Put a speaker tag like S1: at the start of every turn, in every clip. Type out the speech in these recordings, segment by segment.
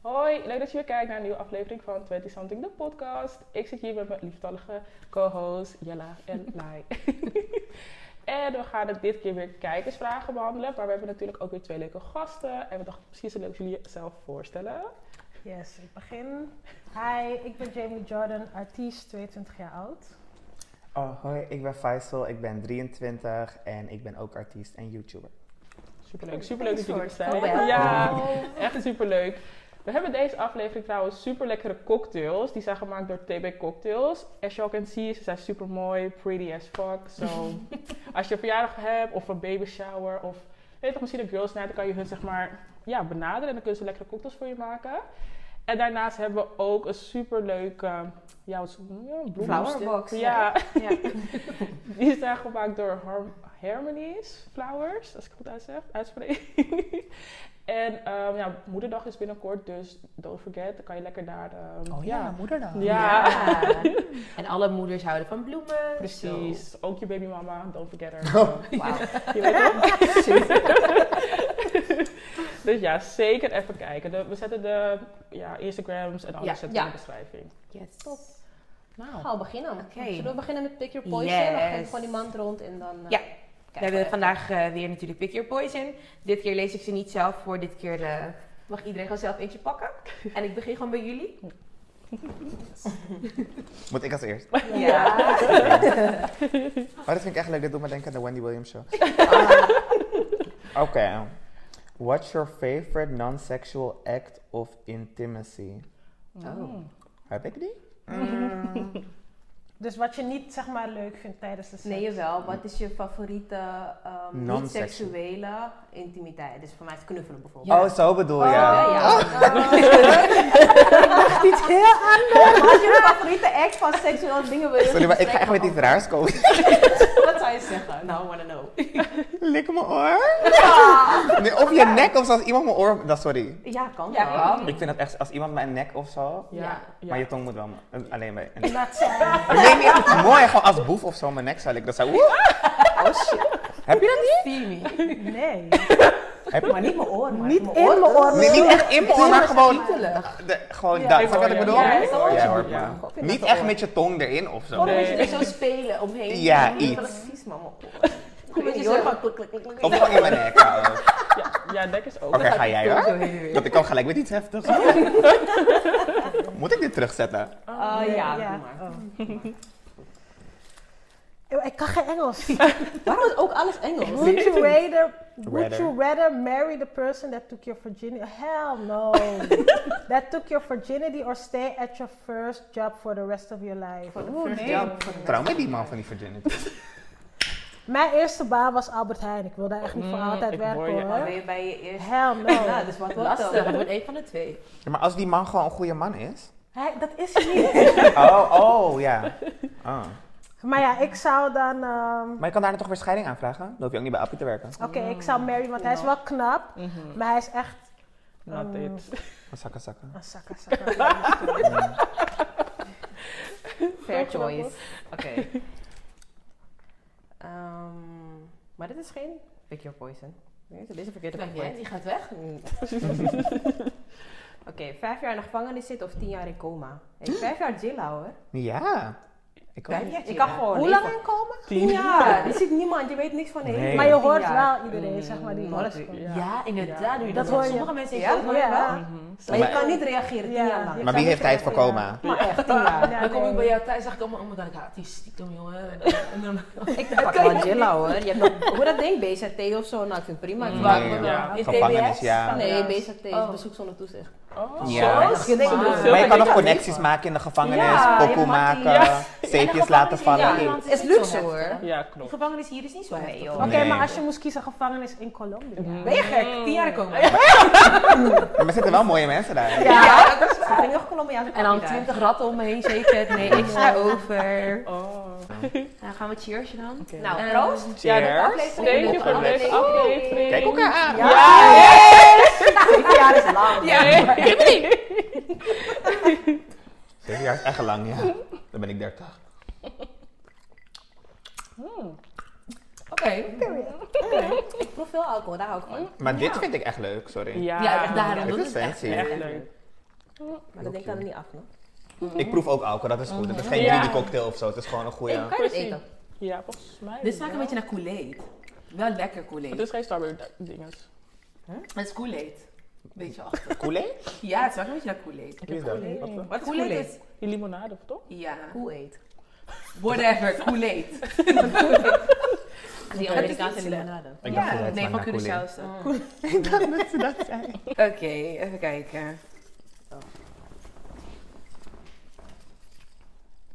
S1: Hoi, leuk dat je weer kijkt naar een nieuwe aflevering van 20 Something, de podcast. Ik zit hier met mijn lieftallige co-host Jella en Lai. en we gaan het dit keer weer kijkersvragen behandelen. Maar we hebben natuurlijk ook weer twee leuke gasten. En we dachten, misschien is het leuk als jullie jezelf voorstellen.
S2: Yes, ik begin. Hi, ik ben Jamie Jordan, artiest, 22 jaar oud.
S3: Oh, hoi, ik ben Faisal, ik ben 23 en ik ben ook artiest en YouTuber.
S1: Superleuk, superleuk dat jullie er zijn.
S2: Oh, wel.
S1: Ja, echt superleuk. We hebben deze aflevering trouwens super lekkere cocktails. Die zijn gemaakt door TB Cocktails. As you all can see, ze zijn super mooi, pretty as fuck. So, als je een verjaardag hebt of een baby shower of weet toch, misschien een girls night, dan kan je hun zeg maar ja, benaderen en dan kunnen ze lekkere cocktails voor je maken. En daarnaast hebben we ook een super leuke ja, wat is het? Ja, bloemen-
S2: Flowerbox,
S1: Ja,
S2: Ja.
S1: die zijn gemaakt door Har- Harmonies Flowers, als ik het goed uitzeg, uitspreek. en ehm, ja, moederdag is binnenkort, dus don't forget, dan kan je lekker daar... ehm,
S3: moederdag.
S1: Ja.
S4: En alle moeders houden van bloemen.
S1: Precies, ook je babymama, don't forget her.
S4: Zo. Wauw.
S1: Je weet toch? dus ja, zeker even kijken. De- we zetten de ja, Instagrams en alles
S4: Ja,
S1: zetten we
S5: ja.
S1: in de beschrijving.
S4: Yes.
S5: Top.
S1: Nou,
S5: Gauw beginnen.
S4: Oké.
S5: Zullen we beginnen met Pick Your Poison? Dan geef ik
S4: Yes.
S5: gewoon die mand rond en dan... eh,
S4: Ja.
S5: kijken
S4: We hebben
S5: even.
S4: vandaag eh, weer natuurlijk Pick Your Poison. Dit keer lees ik ze niet zelf voor. Dit keer eh, mag iedereen gewoon zelf eentje pakken. En ik begin gewoon bij jullie.
S3: Moet ik als eerst?
S4: Ja.
S3: Oh, dat vind ik echt leuk, dat doet me denken aan de Wendy Williams show. Ah. Oké. What's your favorite non-sexual act of intimacy?
S1: mm.
S3: Heb ik die?
S4: Mm.
S2: Dus wat je niet zeg maar leuk vindt tijdens de seks.
S4: Nee, jawel. Wat is je favoriete ehm,
S3: Non-sexual.
S4: niet-seksuele intimiteit? Dus voor mij is knuffelen bijvoorbeeld.
S3: Oh, zo bedoel je.
S4: Ja, Oh. ja.
S2: Niet heel
S4: Wat is je favoriete act van seksuele dingen? Wil je
S3: Oh, Sorry, maar ik ga echt met
S4: bespreken?
S3: iets raars komen.
S4: Wat zou je zeggen? Nou, I wanna know.
S3: Lik mijn oor. Nee, of je nek of zo, als iemand mijn oor... Dat, sorry.
S4: Ja, kan
S5: Ja,
S4: wel.
S5: kan.
S3: Oh, Ik vind dat echt, als iemand mijn nek of zo...
S1: Ja,
S4: Ja.
S1: ja.
S3: Maar je tong moet wel eh, alleen bij... een-
S2: laat zijn.
S3: Nee, nee, mooi. Gewoon als boef of zo mijn nek zou ik dat zou... Oeh.
S4: Oh shit.
S3: Heb je dat niet?
S4: Steamy.
S2: Nee.
S3: Heb
S4: Maar niet mijn oor. maar
S2: Niet in mijn
S4: oor.
S2: oren.
S3: Nee, niet echt in mijn oor, maar gewoon...
S4: Kietelig.
S3: De, gewoon
S2: Ja,
S3: dat.
S1: ik
S3: Snap
S1: hoor
S3: je wat
S1: je.
S3: ik bedoel?
S1: Ja,
S4: ik hoor je.
S3: hoor,
S1: Ja.
S3: maar
S4: Ik vind
S3: Niet
S4: dat
S3: echt
S4: wel.
S3: met je tong erin of zo.
S4: Gewoon
S1: Nee.
S4: dat je er zo spelen omheen.
S3: Ja,
S4: Ik vind
S3: iets.
S4: Dat is vies, man. mijn oor.
S5: Goed dat je
S4: Je
S5: zo-
S4: hoort gewoon klik, klik, klik, klik.
S3: Of gewoon in mijn nek. trouwens.
S1: ja, ja, dek is ook.
S3: Oké, ga jij hoor.
S4: Zo heen en weer.
S3: Dat ik kan gelijk met iets heftigs. Moet ik dit terugzetten?
S4: Ah,
S2: Nee,
S4: ja, doe maar.
S2: Oh. Eeuw, Oh. Ik kan geen Engels.
S5: Waarom is ook alles Engels?
S2: Would you rather, would
S3: Rather.
S2: you rather marry the person that took your virginity? Hell no. that took your virginity or stay at your first job for the rest of your life?
S4: Voor de
S2: Oeh,
S4: first
S2: nee.
S4: job, voor de
S3: Trouw met
S4: rest.
S3: die man van die virginity.
S2: Mijn eerste baan was Albert Heijn. Ik wil daar echt niet voor
S1: Mm,
S2: altijd
S1: ik
S2: werken
S1: hoor je.
S2: hoor.
S4: Maar ben je bij je eerste?
S2: Hell no.
S4: Ja, dus wat
S5: Wat
S4: lastig.
S5: dan?
S4: Het wordt één van de twee.
S3: Ja, maar als die man gewoon een goede man is.
S2: Hij- dat is hij niet.
S3: Oh, oh, ja. Ah.
S2: maar ja, ik zou dan... ehm,
S3: Maar je kan daarna toch weer scheiding aanvragen? Dan hoef je ook niet bij Appie te werken.
S2: Oké, ik zou Mary, want hij is wel knap.
S1: Mhm.
S2: Maar hij is echt
S1: Not
S2: Ehm,
S1: it.
S3: Maar Zakken, zakken.
S2: een zakken zakken.
S4: Fair
S1: Toch wel,
S4: choice. Oké. Ehm, maar dit is geen pick your poison. Nee, dit is een verkeerde
S5: Kijk,
S4: pick your
S5: jij,
S4: poison.
S5: die gaat weg.
S4: Mm. Oké, vijf jaar in de gevangenis zitten of tien jaar in coma. Hey, vijf jaar chillen hoor.
S3: Ja. Ik ook.
S4: Vijf jaar
S5: Ik kan gewoon
S4: Hoe
S5: leven.
S4: lang in coma?
S1: Tien.
S4: jaar. Er zit niemand, je weet niks van de
S3: Nee.
S4: hele
S2: maar je
S4: wereld.
S2: hoort
S4: Tien jaar.
S2: wel iedereen, zeg maar, die
S4: Mm,
S2: hoort.
S4: natuurlijk.
S1: Ja.
S4: Ja,
S1: Ja.
S4: inderdaad. doe je
S2: Dat
S4: Dat
S2: hoor je.
S4: Sommige mensen
S5: Ja?
S4: horen het wel.
S2: Ja.
S1: Mhm.
S4: Maar je
S3: Maar-
S4: kan niet reageren tien
S2: Ja.
S4: jaar lang.
S3: Maar wie heeft tijd voor coma?
S4: Maar echt, tien jaar.
S2: Ja,
S5: dan kom
S2: nee.
S5: ik bij jou thuis zeg ik allemaal, oh my god, ik haat die stiekem jongen. En dan- en dan-
S4: Ik pak wel Angela hoor. Je hebt nog, hoe dat ding? BZT of zo? Nou, ik vind het prima. Ik
S3: Mm.
S4: waak
S3: Nee,
S4: me
S1: ja.
S4: wel. Is
S3: Gevangenis,
S4: TBS?
S3: ja.
S4: Nee, BZT is
S5: Oh.
S4: bezoek zonder toezicht.
S1: Oh,
S3: Ja.
S1: zo
S4: Je denkt,
S1: smart.
S4: ik bedoel,
S3: Maar je kan
S4: Ik
S3: nog
S4: weet
S3: connecties
S4: het.
S3: maken in de gevangenis,
S4: Ja, je
S3: pokoe
S4: mag
S3: maken,
S4: die-
S1: Ja.
S3: zeepjes laten vallen.
S4: Ja, is luxe hoor.
S1: Ja,
S4: De
S1: klopt.
S4: gevangenis hier is niet zo heftig.
S2: Oké,
S4: joh.
S3: Nee.
S2: maar als je moest kiezen gevangenis in Colombia.
S4: Ben je gek? Tien jaar komen.
S3: Maar er zitten wel mooie mensen daar.
S4: Ja, dat is waar. Ik ben nog Colombiaanse
S5: En dan
S4: papi daar.
S5: twintig ratten om me heen zeker. Nee, ik
S4: Extra over.
S1: Oh.
S4: Nou, gaan we cheersje dan?
S1: Oké.
S4: Nou,
S2: Ehm,
S5: Eh,
S4: proost.
S1: Ja, de
S3: Cheers.
S1: Thank you voor deze aflevering.
S3: Kijk elkaar aan.
S1: Ja.
S4: Zeven jaar is lang.
S1: Ja,
S3: Zeven jaar is echt lang, ja. Dan ben ik 30.
S5: Oké.
S4: Ik proef
S3: Mm.
S4: veel alcohol, daar hou ik van.
S3: Maar dit vind ik echt leuk, sorry.
S1: Ja,
S5: Ja, echt daarom.
S3: Dit
S5: dat
S3: is
S5: is echt
S3: fancy.
S1: Echt leuk.
S4: Maar dat denk ik dan niet af, nog.
S3: Ik proef ook alcohol, dat is goed. Het is geen
S1: Ja.
S3: jullie cocktail of zo, het is gewoon een goede.
S4: kan je dit
S1: Precies.
S4: eten?
S1: Ja, volgens mij.
S5: Dit smaakt een
S1: wel.
S5: beetje naar Kool-Aid. Wel lekker
S1: Het
S5: Kool-Aid.
S1: is geen strawberry dinges.
S5: Het is Kool-Aid. Beetje achter.
S3: Kool-Aid?
S5: Ja, het smaakt een beetje naar Kool-Aid.
S1: Ik
S3: Wie
S1: heb
S3: is dat?
S1: geen idee.
S3: Wat
S5: Wat is
S4: Kool-Aid?
S5: Kool-Aid? is-
S1: Die limonade, of toch?
S5: Ja.
S4: Koe eet.
S5: Whatever, Kool-Aid.
S4: Die Amerikaanse limonade.
S3: Ik dacht dat
S5: Ja,
S3: het
S5: nee,
S3: smaakt
S5: van
S3: naar
S5: Curaçao
S3: Kool-Aid.
S5: is dat.
S3: Ik dacht dat ze dat zei.
S4: Oké, even kijken. Oh.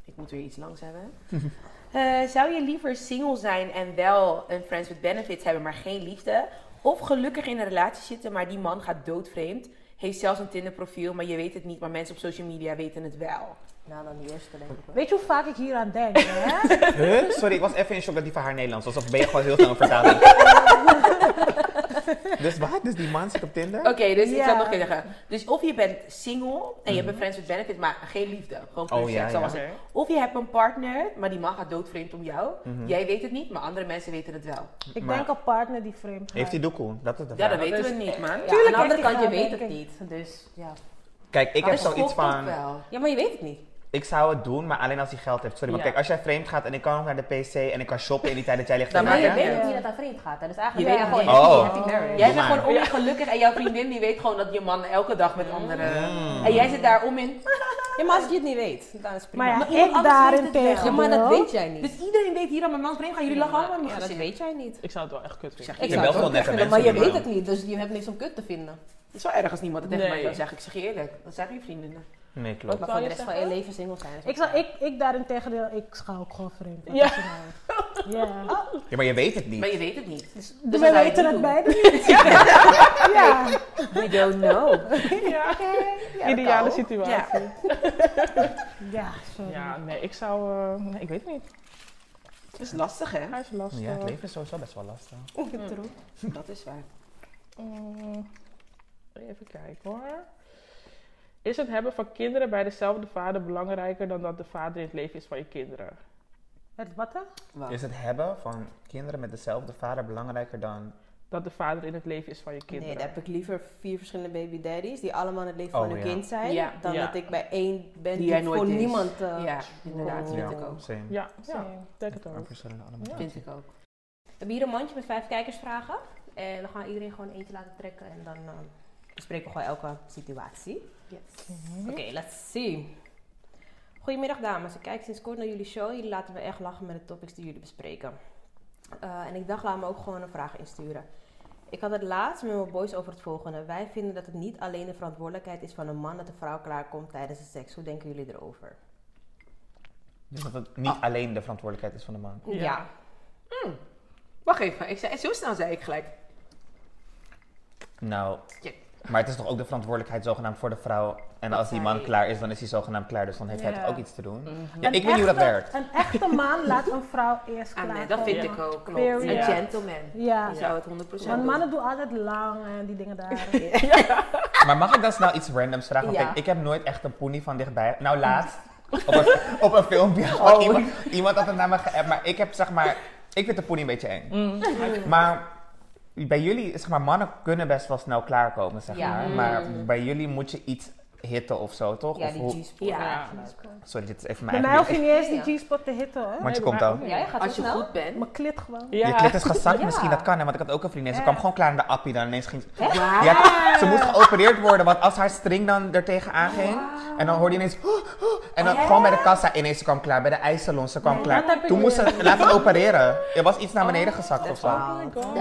S4: Ik moet weer iets langs hebben. Eh, zou je liever single zijn en wel een friends with benefits hebben, maar geen liefde? Of gelukkig in een relatie zitten, maar die man gaat doodvreemd? Heeft zelfs een Tinder profiel, maar je weet het niet, maar mensen op social media weten het wel. Nou, dan die eerste denk ik
S2: Weet je hoe vaak ik hier aan denk? Hè?
S3: Huh? Sorry, ik was even in shock dat die van haar Nederlands was. Of ben je gewoon heel snel een vertaling? dus wat? Dus die man zit op Tinder?
S4: Oké, dus ik
S2: Ja.
S4: zal nog even zeggen. Dus of je bent single en je hebt een friends with benefits, maar geen liefde. Gewoon puur
S3: Oh, ja,
S4: seks, zoals
S3: ja.
S4: het. Of je hebt een partner, maar die man gaat doodvreemd om jou.
S3: Mhm.
S4: Jij weet het niet, maar andere mensen weten het wel.
S2: Ik
S3: Maar-
S2: denk een partner die vreemd gaat.
S3: Heeft hij doekoe? Dat is de
S4: Ja,
S3: vraag.
S4: dat weten
S1: dat
S4: we niet, man.
S2: Tuurlijk
S4: aan de andere
S2: heeft hij
S4: kant, eh, je
S2: wel,
S4: weet
S2: denk
S4: het
S2: ik.
S4: niet. Dus ja.
S3: Kijk, ik heb
S4: Maar het
S3: zoiets
S4: klopt ook
S3: van...
S4: wel. Ja, maar je weet het niet.
S3: Ik zou het doen, maar alleen als hij geld heeft. Sorry, maar
S1: Ja.
S3: kijk, als jij vreemd gaat en ik kan nog naar de PC en ik kan shoppen in die tijd dat jij ligt te
S4: Dan ben je
S3: maken-
S4: weet ook
S2: niet
S6: dat hij vreemd gaat. Dus eigenlijk
S4: Je weet het niet.
S3: Oh.
S4: Jij
S3: Doe
S4: bent
S3: maar.
S4: gewoon ongelukkig en jouw vriendin die weet gewoon dat je man elke dag met anderen...
S3: Mm.
S4: En jij zit daar om in.
S6: Ja, maar als je het niet weet, dan is het prima.
S2: Maar ja,
S4: Maar iemand
S2: ik
S4: anders
S2: daarentegen.
S6: Ja, maar dat
S2: bro.
S6: weet jij niet.
S4: Dus iedereen weet hier dat mijn man vreemd gaat. Jullie lachen allemaal in mijn
S6: ja, dat
S4: gezicht.
S6: weet jij niet.
S1: Ik zou het wel echt kut vinden.
S3: Je
S6: zou
S3: belt
S6: het
S3: gewoon
S6: ook echt
S3: nette mensen,
S6: vinden, Maar je
S3: doe
S6: weet
S3: maar.
S6: het niet, dus je hebt niks om kut te vinden.
S4: Het is wel erg als niemand het tegen
S1: Nee.
S4: mij zou zeggen. Ik zeg je eerlijk. Dat zeggen je vriendinnen.
S3: Nee, klopt.
S6: Maar
S1: wou
S6: voor
S1: je
S6: de rest van je
S1: zeggen?
S6: leven single zijn.
S2: Ik, zou, ik, ik daarentegen, ik ga ook gewoon vreemd. Wat
S1: Ja.
S2: is er nou? ja.
S3: Ja, maar je weet het
S4: Maar
S3: niet.
S4: je weet het niet. Dus,
S2: We
S4: dan zou je
S2: weten
S4: niet
S2: het
S4: doen.
S2: beide niet. Ja. ja.
S4: You don't know.
S1: Ja.
S4: Ja,
S1: Ideale
S4: dat kan ook.
S1: situatie. Ja,
S2: Ja, sorry.
S1: nee, ik zou... eh, nee, ik weet het niet. eh,
S4: Het is lastig, hè?
S1: Hij is lastig.
S3: Ja, het leven is sowieso best wel lastig.
S4: Dat is waar.
S1: Mm, even kijken hoor. Is het hebben van kinderen bij dezelfde vader belangrijker dan dat de vader in het leven is van je kinderen?
S2: Het wat dan?
S4: Wauw.
S3: Is het hebben van kinderen met dezelfde vader belangrijker dan...
S1: Dat de vader in het leven is van je
S6: Nee,
S1: kinderen.
S6: dan heb ik liever vier verschillende baby daddies die allemaal in het leven
S3: Oh,
S6: van hun
S3: ja.
S6: kind zijn,
S4: Ja.
S6: dan
S1: Ja.
S6: dat ik bij één ben
S4: Die
S6: die,
S4: jij nooit
S6: voor
S4: is.
S6: niemand. eh,
S4: Ja, inderdaad.
S6: Oh.
S4: Vind
S3: Ja,
S4: ik ook.
S3: same.
S1: Ja, ja,
S6: Same.
S1: denk het ook.
S3: Maar verschillende allemaal.
S1: Ja.
S4: Vind ik ook.
S6: We hebben hier een mandje met vijf kijkersvragen. En dan gaan we iedereen gewoon eentje laten trekken en dan eh, bespreken we gewoon elke situatie. Oké, let's see. Goedemiddag dames, ik kijk sinds kort naar jullie show. Jullie laten me echt lachen met de topics die jullie bespreken. Eh, en ik dacht, laat me ook gewoon een vraag insturen. Ik had het laatst met mijn boys over het volgende. Wij vinden dat het niet alleen de verantwoordelijkheid is van een man dat de vrouw klaarkomt tijdens de seks. Hoe denken jullie erover?
S3: Dus dat het niet alleen de verantwoordelijkheid is van de man.
S1: Ja.
S4: Wacht even. Ik zei, zo snel zei ik gelijk.
S3: Nou,
S4: Ja.
S3: maar het is toch ook de verantwoordelijkheid zogenaamd voor de vrouw. En als die man
S6: hij-
S3: klaar is, dan is hij zogenaamd klaar. Dus dan heeft hij
S2: Ja.
S3: toch ook iets te doen. Ja, ik weet niet hoe dat
S2: Echte-
S3: werkt.
S2: Een echte man laat een vrouw eerst
S4: Ah,
S2: klaar.
S4: nee, dat vind
S1: Ja.
S4: ik ook. Klopt.
S2: Period.
S4: Een
S1: Ja.
S4: gentleman.
S2: Ja.
S4: Die zou het 100%
S2: Want
S4: doen.
S2: mannen doen altijd lang en die dingen daar.
S3: Maar mag ik dan snel iets randoms vragen? Want
S4: Ja.
S3: kijk, ik heb nooit echt een poenie van dichtbij. Nou, laatst. Op een, op een filmpje. had Iemand, iemand had het naar me geappt. Maar ik heb zeg maar. Ik vind de poenie een beetje eng. Maar bij jullie, zeg maar, mannen kunnen best wel snel klaarkomen, zeg
S6: Ja.
S3: maar. Maar bij jullie moet je iets hitten of zo, toch?
S6: Ja,
S3: Of hoe-
S6: die G-spot.
S4: Ja.
S6: eigenlijk.
S3: Sorry, dit is even mijn
S2: Bij mij
S3: eigen.
S2: hoef je niet eens die G-spot te hitten hoor.
S3: Want je
S1: Nee,
S3: komt
S1: maar-
S3: al.
S6: Jij gaat zo
S4: Als je
S6: snel?
S4: goed bent.
S2: Mijn klit gewoon.
S1: Ja,
S3: Je klit is gezakt
S6: Ja.
S3: misschien, dat kan hè, want ik had ook een vriendin. Ze
S2: Ja.
S3: kwam gewoon klaar in de appie, dan ineens ging ze...
S4: Ja.
S3: Ja, ze moest geopereerd worden, want als haar string dan er tegenaan ging... En dan hoorde je ineens... "Oh, En dan gewoon bij de kassa ineens, ze kwam klaar. Bij de ijssalon, ze kwam
S2: dat heb
S3: klaar.
S2: ik
S3: Toen moest
S2: niet.
S3: ze laten opereren. Er was iets naar beneden gezakt of zo.
S1: Oh my god.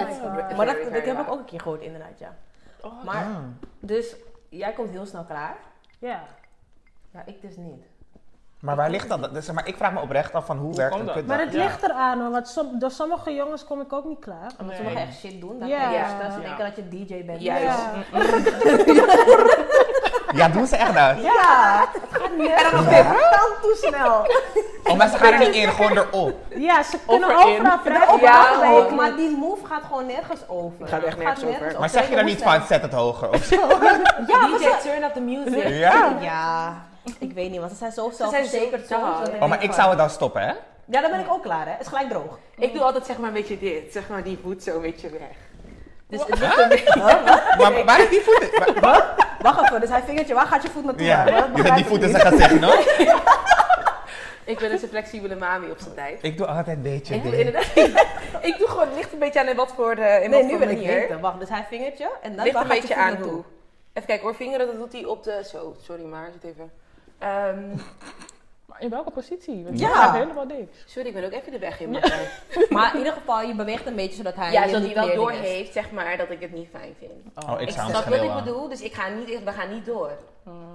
S6: Maar dat, dat heb ik ook een keer gehoord, inderdaad, ja. Maar,
S3: Ah.
S6: dus jij komt heel snel klaar.
S2: Ja.
S6: Ja, ik dus niet.
S3: Maar waar ligt dat? dat? Zeg maar, ik vraag me oprecht af van hoe, werkt
S1: kan
S3: een
S1: dat?
S3: kutdag?
S2: Maar het
S1: Ja.
S2: ligt eraan hoor, want som- door sommige jongens kom ik ook niet klaar.
S6: Omdat
S1: Nee.
S6: sommigen echt shit doen. Dan
S2: Ja.
S6: ja. je dat ze
S1: Ja.
S6: denken dat je DJ bent.
S4: Ja. Juist.
S2: Ja.
S3: Ja, doen ze echt dat?
S2: Ja,
S4: En dan nog dit.
S2: dan toe snel.
S3: Oh, maar ze gaan er niet in, gewoon erop.
S2: Ja, ze kunnen
S1: erin.
S2: overal
S6: Ja,
S2: vragen.
S4: Ja,
S6: maar-
S4: hoor.
S6: maar die move gaat gewoon nergens over.
S4: gaat echt nergens over.
S3: Maar zeg je dan niet van, zet het hoger of zo?
S6: Ja, DJ, turn up the music.
S3: Ja.
S6: Ja, ik weet niet, want ze zijn zo
S4: zelfverzekerd
S6: zelfverzekerd.
S4: zo
S6: soms, dan
S4: taai.
S6: denk
S3: Oh, maar ik zou het dan stoppen, hè?
S6: van- Ja, dan ben ik ook klaar, hè. Het is gelijk droog.
S4: Ik doe altijd zeg maar een beetje dit. Zeg maar die voet zo een beetje weg.
S6: Dus het
S3: Maar waar is die voeten? Wa- Wat?
S6: Wacht even, dus hij vingertje, waar gaat je voet naartoe?
S3: Ja,
S6: Maar dat
S3: je bent
S6: begrijp
S3: die
S6: ik
S3: voet in
S6: niet.
S3: zijn gezicht, no?
S4: Ik ben dus een flexibele mami op zijn tijd.
S3: Ik doe altijd beetje
S4: Ik doe,
S3: dingen.
S4: inderdaad, ik doe gewoon, het ligt een beetje aan in wat voor, eh, in
S6: Nee,
S4: wat
S6: nu
S4: voor
S6: wil ik
S4: manier.
S6: weten. Wacht, dus hij vingertje en dan
S4: ligt
S6: waar
S4: een
S6: gaat je
S4: beetje
S6: voet
S4: aan
S6: naartoe?
S4: toe. Even kijken hoor, vingeren, dat doet hij op de... Zo, sorry maar, zit even. Ehm,
S1: Maar in welke positie? Want
S6: Ja.
S1: ja. gaat helemaal niks.
S4: sorry, ik ben ook even de weg in. maar-
S6: Maar in ieder geval, je beweegt een beetje zodat hij...
S4: Ja,
S6: in
S4: zodat
S6: de
S4: hij wel
S6: clearing is.
S4: doorheeft, zeg maar, dat ik het niet fijn vind.
S3: Oh, ik
S4: Ik
S3: zou
S4: snap
S3: hem
S4: wat ik
S3: schreeuwen.
S4: bedoel, dus ik ga niet, we gaan niet door.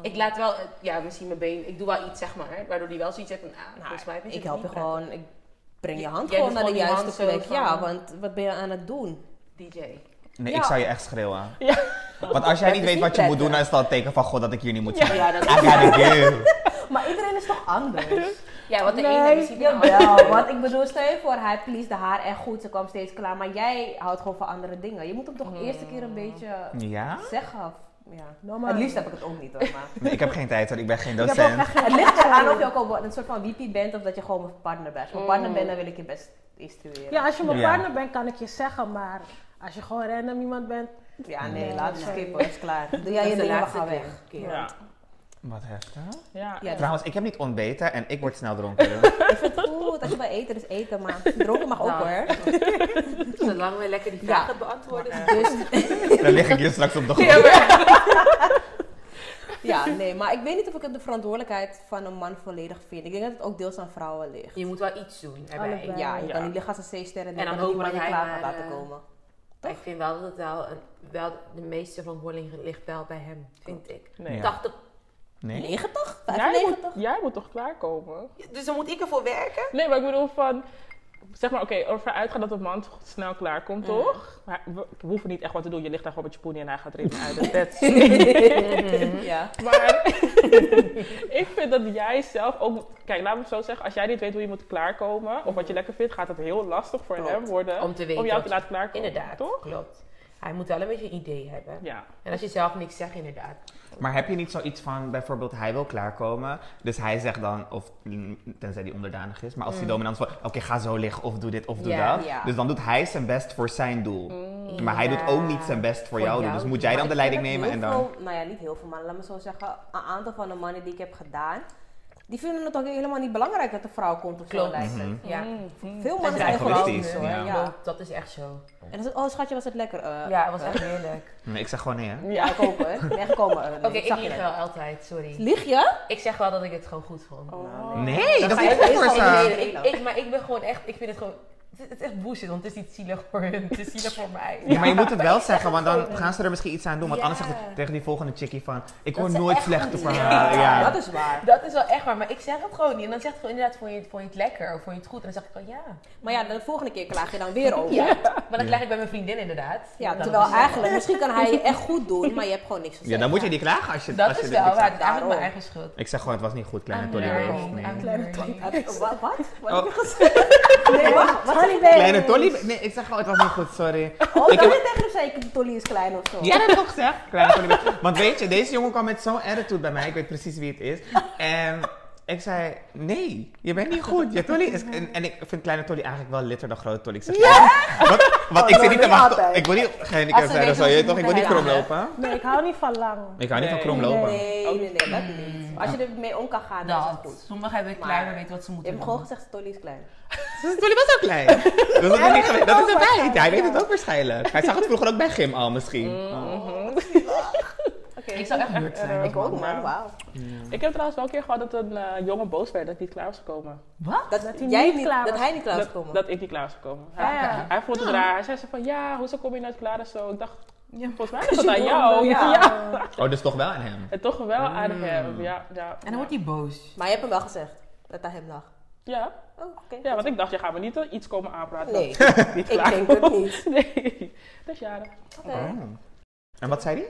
S4: Ik laat wel, eh, ja, misschien mijn been, ik doe wel iets, zeg maar, waardoor die wel zoiets heeft van, ah, volgens mij heb je
S6: Ik
S4: het
S6: help je
S4: niet
S6: gewoon, ik breng je
S4: Jij
S6: hand
S4: doet
S6: gewoon naar de
S4: gewoon die
S6: juiste
S4: hand zo
S6: plek. Ja,
S4: van-
S6: want wat ben je aan het doen?
S4: prettig. DJ.
S3: Nee,
S6: Ja.
S3: ik zou je echt schreeuwen. Want als jij
S6: Dat
S3: niet
S6: is
S3: weet
S6: niet
S3: wat je moet
S6: prettig.
S3: doen, dan is dat een teken van God dat ik hier niet moet zijn.
S4: Ja, dat
S3: I gotta go.
S6: Maar iedereen is toch anders?
S4: Ja, want de ene
S6: Nee,
S4: is niet
S6: jawel. Want ik bedoel, stel je voor, hij pleased haar echt goed, ze kwam steeds klaar. Maar jij houdt gewoon van andere dingen. Je moet hem toch de eerste keer een beetje
S3: Ja?
S6: zeggen. Ja.
S2: Normaal.
S6: Het liefst heb ik het ook niet hoor, maar...
S3: Nee, ik heb geen tijd hoor, ik ben geen
S2: Nou, Ik heb ook
S3: docent.
S2: echt
S6: Het ligt eraan of je ook al een soort van wiepie bent of dat je gewoon een partner bent. Als je een partner bent, dan wil ik je best instrueren.
S2: Ja, als je mijn
S3: Ja.
S2: partner bent, kan ik je zeggen, maar als je gewoon random iemand bent,
S6: Ja, nee, laat het skippen, het is klaar. Doe jij
S4: Dat
S6: je
S4: is de
S6: dingen, we
S4: laatste
S6: gaan
S4: keer.
S6: weg.
S4: Ja.
S3: Wat heftig.
S1: Ja.
S6: Ja,
S3: Trouwens, ik heb niet ontbeten en ik word snel dronken.
S6: Goed, als je bij eten is eten, maar dronken mag ook
S4: Nou.
S6: hoor.
S4: Zolang we lekker die vragen beantwoorden.
S6: Dus
S3: Dan lig ik hier straks op de grond.
S6: ja, nee, maar ik weet niet of ik het de verantwoordelijkheid van een man volledig vind. Ik denk dat het ook deels aan vrouwen ligt.
S4: Je moet wel iets doen erbij.
S2: Allebei.
S6: Ja, je
S1: Ja.
S6: kan niet liggen als een C-sterren
S4: En
S6: en
S4: dan
S6: dan
S4: hopen
S6: iemand je
S4: dat hij
S6: klaar
S4: maar,
S6: gaat laten
S4: eh,
S6: komen.
S4: Ik vind wel dat het wel, een, wel de meeste verantwoording ligt wel bij hem, vind ik.
S1: Nee.
S3: Ja.
S4: 80.
S3: Nee.
S6: 90?
S1: Jij moet,
S6: 95?
S1: jij moet toch klaarkomen?
S4: Dus dan moet ik ervoor werken?
S1: Nee, maar ik bedoel van... Zeg maar, oké, ervan uitgaan dat een man toch snel klaarkomt, toch? Maar we, we hoeven niet echt wat te doen. Je ligt daar gewoon met je poenie en hij gaat erin en uit. En that's it.
S6: Ja.
S1: Maar ik vind dat jij zelf ook... Kijk, laat me het zo zeggen. Als jij niet weet hoe je moet klaarkomen of wat je lekker vindt, gaat het heel lastig voor
S4: Klopt.
S1: hem worden
S4: Om te weten
S1: jou
S4: wat
S1: te
S4: je-
S1: laten klaarkomen.
S4: Inderdaad,
S1: Toch?
S4: klopt. Hij moet wel een beetje een idee hebben.
S1: Ja.
S4: En als je zelf niks zegt, inderdaad.
S3: Maar heb je niet zoiets van, bijvoorbeeld, hij wil klaarkomen, dus hij zegt dan, of mm, tenzij die onderdanig is, maar als die dominant is van, oké, ga zo liggen, of doe dit, of doe
S4: Mm. Ja, Mm,
S3: dat.
S6: ja.
S3: Dus dan doet hij zijn best voor zijn doel. Maar hij
S4: Ja.
S3: doet ook niet zijn best voor,
S4: Voor
S3: jou.
S4: jou.
S3: Dus moet jij dan de leiding
S6: Ik
S3: nemen
S6: heb
S3: en
S6: heel
S3: dan...
S6: Veel, nou ja, niet heel veel mannen. Laat me zo zeggen, een aantal van de mannen die ik heb gedaan, die vinden het ook helemaal niet belangrijk dat de vrouw komt of zo.
S4: Klopt.
S6: lijkt het.
S3: Mhm.
S4: Ja.
S1: Mm.
S6: Veel mannen
S4: zijn
S6: zijn gewoon
S3: egoïstisch,
S6: hoor.
S3: ja.
S6: Ja.
S4: Klopt, dat is echt zo.
S6: En dan is het, oh schatje, was het lekker? eh,
S4: Ja, het
S6: eh,
S4: was echt heerlijk.
S3: Nee, ik zeg gewoon nee, hè.
S6: Ja, ik ook hoor. Nee, gekomen. eh, nee,
S4: Oké,
S6: zag
S4: ik lieg
S6: je net.
S4: wel altijd, sorry.
S6: Lieg je?
S4: Ik zeg wel dat ik het gewoon goed vond.
S3: Nee, dat,
S4: Maar
S3: is
S4: ik
S3: niet
S4: ben
S3: goed
S6: is
S3: voor
S4: gewoon-
S6: ze.
S4: nee, nee, ik- ik- Maar ik ben gewoon echt, ik vind het gewoon, het is- het is echt bullshit, want het is niet zielig voor hun, het is zielig voor mij.
S3: Ja, maar je moet het wel zeggen, want dan gaan ze er misschien iets aan doen. Want
S4: Ja.
S3: anders zegt het tegen die volgende chickie van, ik
S4: Dat
S3: hoor
S4: ze
S3: nooit
S4: echt
S3: slechte
S4: niet-
S3: verhalen. Ja.
S6: Dat is waar.
S4: Dat is wel echt waar, maar ik zeg het gewoon niet. En dan zegt het gewoon inderdaad, vond je het, vond je het lekker of vond je het goed? En dan zeg ik gewoon ja.
S6: Maar ja, de volgende keer klaag je dan weer over.
S4: Ja, maar dat krijg ik bij mijn vriendin inderdaad.
S6: Ja,
S4: Dat
S6: terwijl
S4: is-
S6: eigenlijk, misschien kan hij je echt goed doen, maar je hebt gewoon niks gezegd.
S3: Ja, dan moet je die klagen als je als
S4: Dat
S3: je dit
S4: is wel
S3: niet
S4: waar,
S3: zegt.
S4: het is eigenlijk mijn
S6: Daarom.
S4: eigen schuld.
S3: Ik zeg gewoon, het was niet goed, kleine
S4: I'm
S3: Tolly
S4: learning,
S3: Waves. Nee.
S4: I'm
S2: Kleine
S4: learning.
S6: Eh, wa- Wat? Wat
S3: Oh.
S6: heb je gezegd? Nee, wacht. Wat zei je?
S3: Kleine Tolly... Nee, ik zeg gewoon, het was niet goed, sorry.
S6: Oh,
S3: Ik
S6: dan
S3: heb-
S6: heb... tegen hem zei ik, Tolly is klein of zo.
S3: Ja, dat toch zeg. Kleine Tony Bennett. Want weet je, deze jongen kwam met zo'n attitude bij mij. Ik weet precies wie het is. En ik zei, nee, je bent niet goed. Je Tolly is... En, en ik vind kleine Tolly eigenlijk wel litter dan grote Tolly. Ik zeg, ja! Want, want
S6: Oh,
S3: ik zit niet
S6: dat
S3: te
S6: doe je
S3: wachten.
S6: altijd.
S3: Ik wil niet gehandicapt
S6: Als ze
S3: zijn of
S6: weten
S3: zo. Je
S6: wat
S3: weet
S6: ze
S3: toch, ik wil niet
S6: moeten
S3: kromlopen.
S2: nee, ik hou niet van lang.
S3: Ik hou niet van
S1: Nee.
S3: kromlopen.
S6: Nee, nee, nee, dat
S3: Oh,
S6: niet. Als je er mee om kan gaan, dan is het goed.
S5: Sommigen hebben het
S6: Maar-
S5: kleiner weten wat ze
S6: Je
S5: moeten
S6: hebt
S5: doen.
S6: gewoon gezegd, Tolly is klein.
S3: Dus Tolly was ook klein. Dus dat, is niet gewe- dat is een feit. Hij weet het ook Mm. waarschijnlijk. Hij zag het vroeger ook bij Gim al misschien.
S6: Oké,
S5: Ik zou echt weird zijn.
S6: ik ook man, wauw.
S1: Ik heb trouwens wel een keer gehad dat een eh, jongen boos werd dat ik niet klaar was gekomen.
S6: Dat,
S2: hij
S6: jij
S2: niet
S6: niet,
S2: klaar
S6: dat
S2: was.
S6: hij niet klaar was
S1: Dat,
S6: gekomen.
S1: dat ik niet klaar was gekomen. Hij,
S2: Ah, ja.
S1: hij- hij vond het raar. Hij zei zo van, ja, hoezo kom je nooit klaar en zo. Ik dacht,
S5: Ja.
S1: volgens mij is dat
S6: je
S1: aan
S6: dom
S1: jou.
S6: bent, ja.
S1: Ja.
S3: Oh, dus toch wel aan hem.
S1: En toch wel aan hem. Ja, ja.
S5: En dan wordt hij boos.
S6: Maar je hebt hem wel gezegd dat hij hem lag.
S1: Ja.
S6: Oh, oké.
S1: ja, want ik dacht, je gaat me niet eh, iets komen aanpraten.
S6: Nee,
S1: dat niet
S6: ik
S1: klaar
S6: denk het
S1: was.
S6: niet.
S1: Nee, dat is jaren.
S6: Oké.
S3: Oh. En wat zei hij?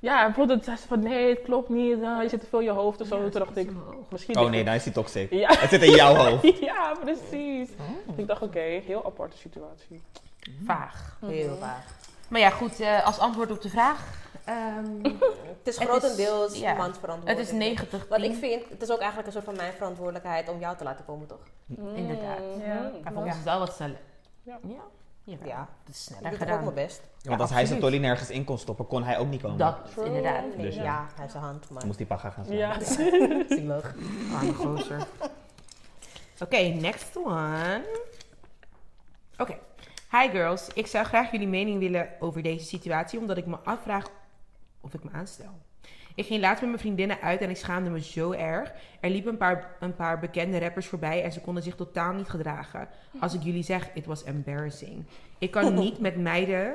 S1: Ja, hij vond het, hij zei van, nee, het klopt niet. eh, je zit te veel in je hoofd of zo. Toen dacht ik, misschien...
S3: Oh
S1: ligt
S3: nee,
S1: het-
S3: nou is hij toxic.
S1: Ja.
S3: Het zit in jouw hoofd.
S1: Ja, precies. Ik dacht, oké, heel aparte situatie.
S5: Vaag.
S6: Heel vaag.
S5: Maar ja, goed, eh, als antwoord op de vraag. ehm,
S6: Het is
S5: Het is-
S6: grotendeels
S5: ja.
S6: mans verantwoordelijkheid.
S5: het is 90.
S6: Wat
S4: Mhm.
S6: ik vind, het is ook eigenlijk een soort van mijn verantwoordelijkheid om jou te laten komen, toch?
S5: Inderdaad.
S1: Mhm.
S2: Ja.
S5: Maar volgens ons is wel wat stellen.
S1: Ja.
S5: Ja.
S4: Ja,
S6: Ja.
S4: dat is
S6: Ik
S4: sneller
S6: doe toch ook
S4: gedaan.
S6: mijn best.
S3: want als hij zijn tolly nergens in kon stoppen, kon hij ook niet komen.
S4: Dat is
S1: True.
S4: inderdaad.
S1: Nee.
S3: Dus ja.
S6: Ja, hij is een hand, maar
S3: Toen moest die paga gaan slaan.
S1: Ja.
S6: zielig.
S3: Ah,
S4: Arme gozer. Oké, next one. Oké. Hi girls, ik zou graag jullie mening willen over deze situatie, omdat ik me afvraag of ik me aanstel. Ik ging laatst met mijn vriendinnen uit en ik schaamde me zo erg. Er liepen een paar, een paar bekende rappers voorbij en ze konden zich totaal niet gedragen. Als ik jullie zeg, it was embarrassing. Ik kan niet met meiden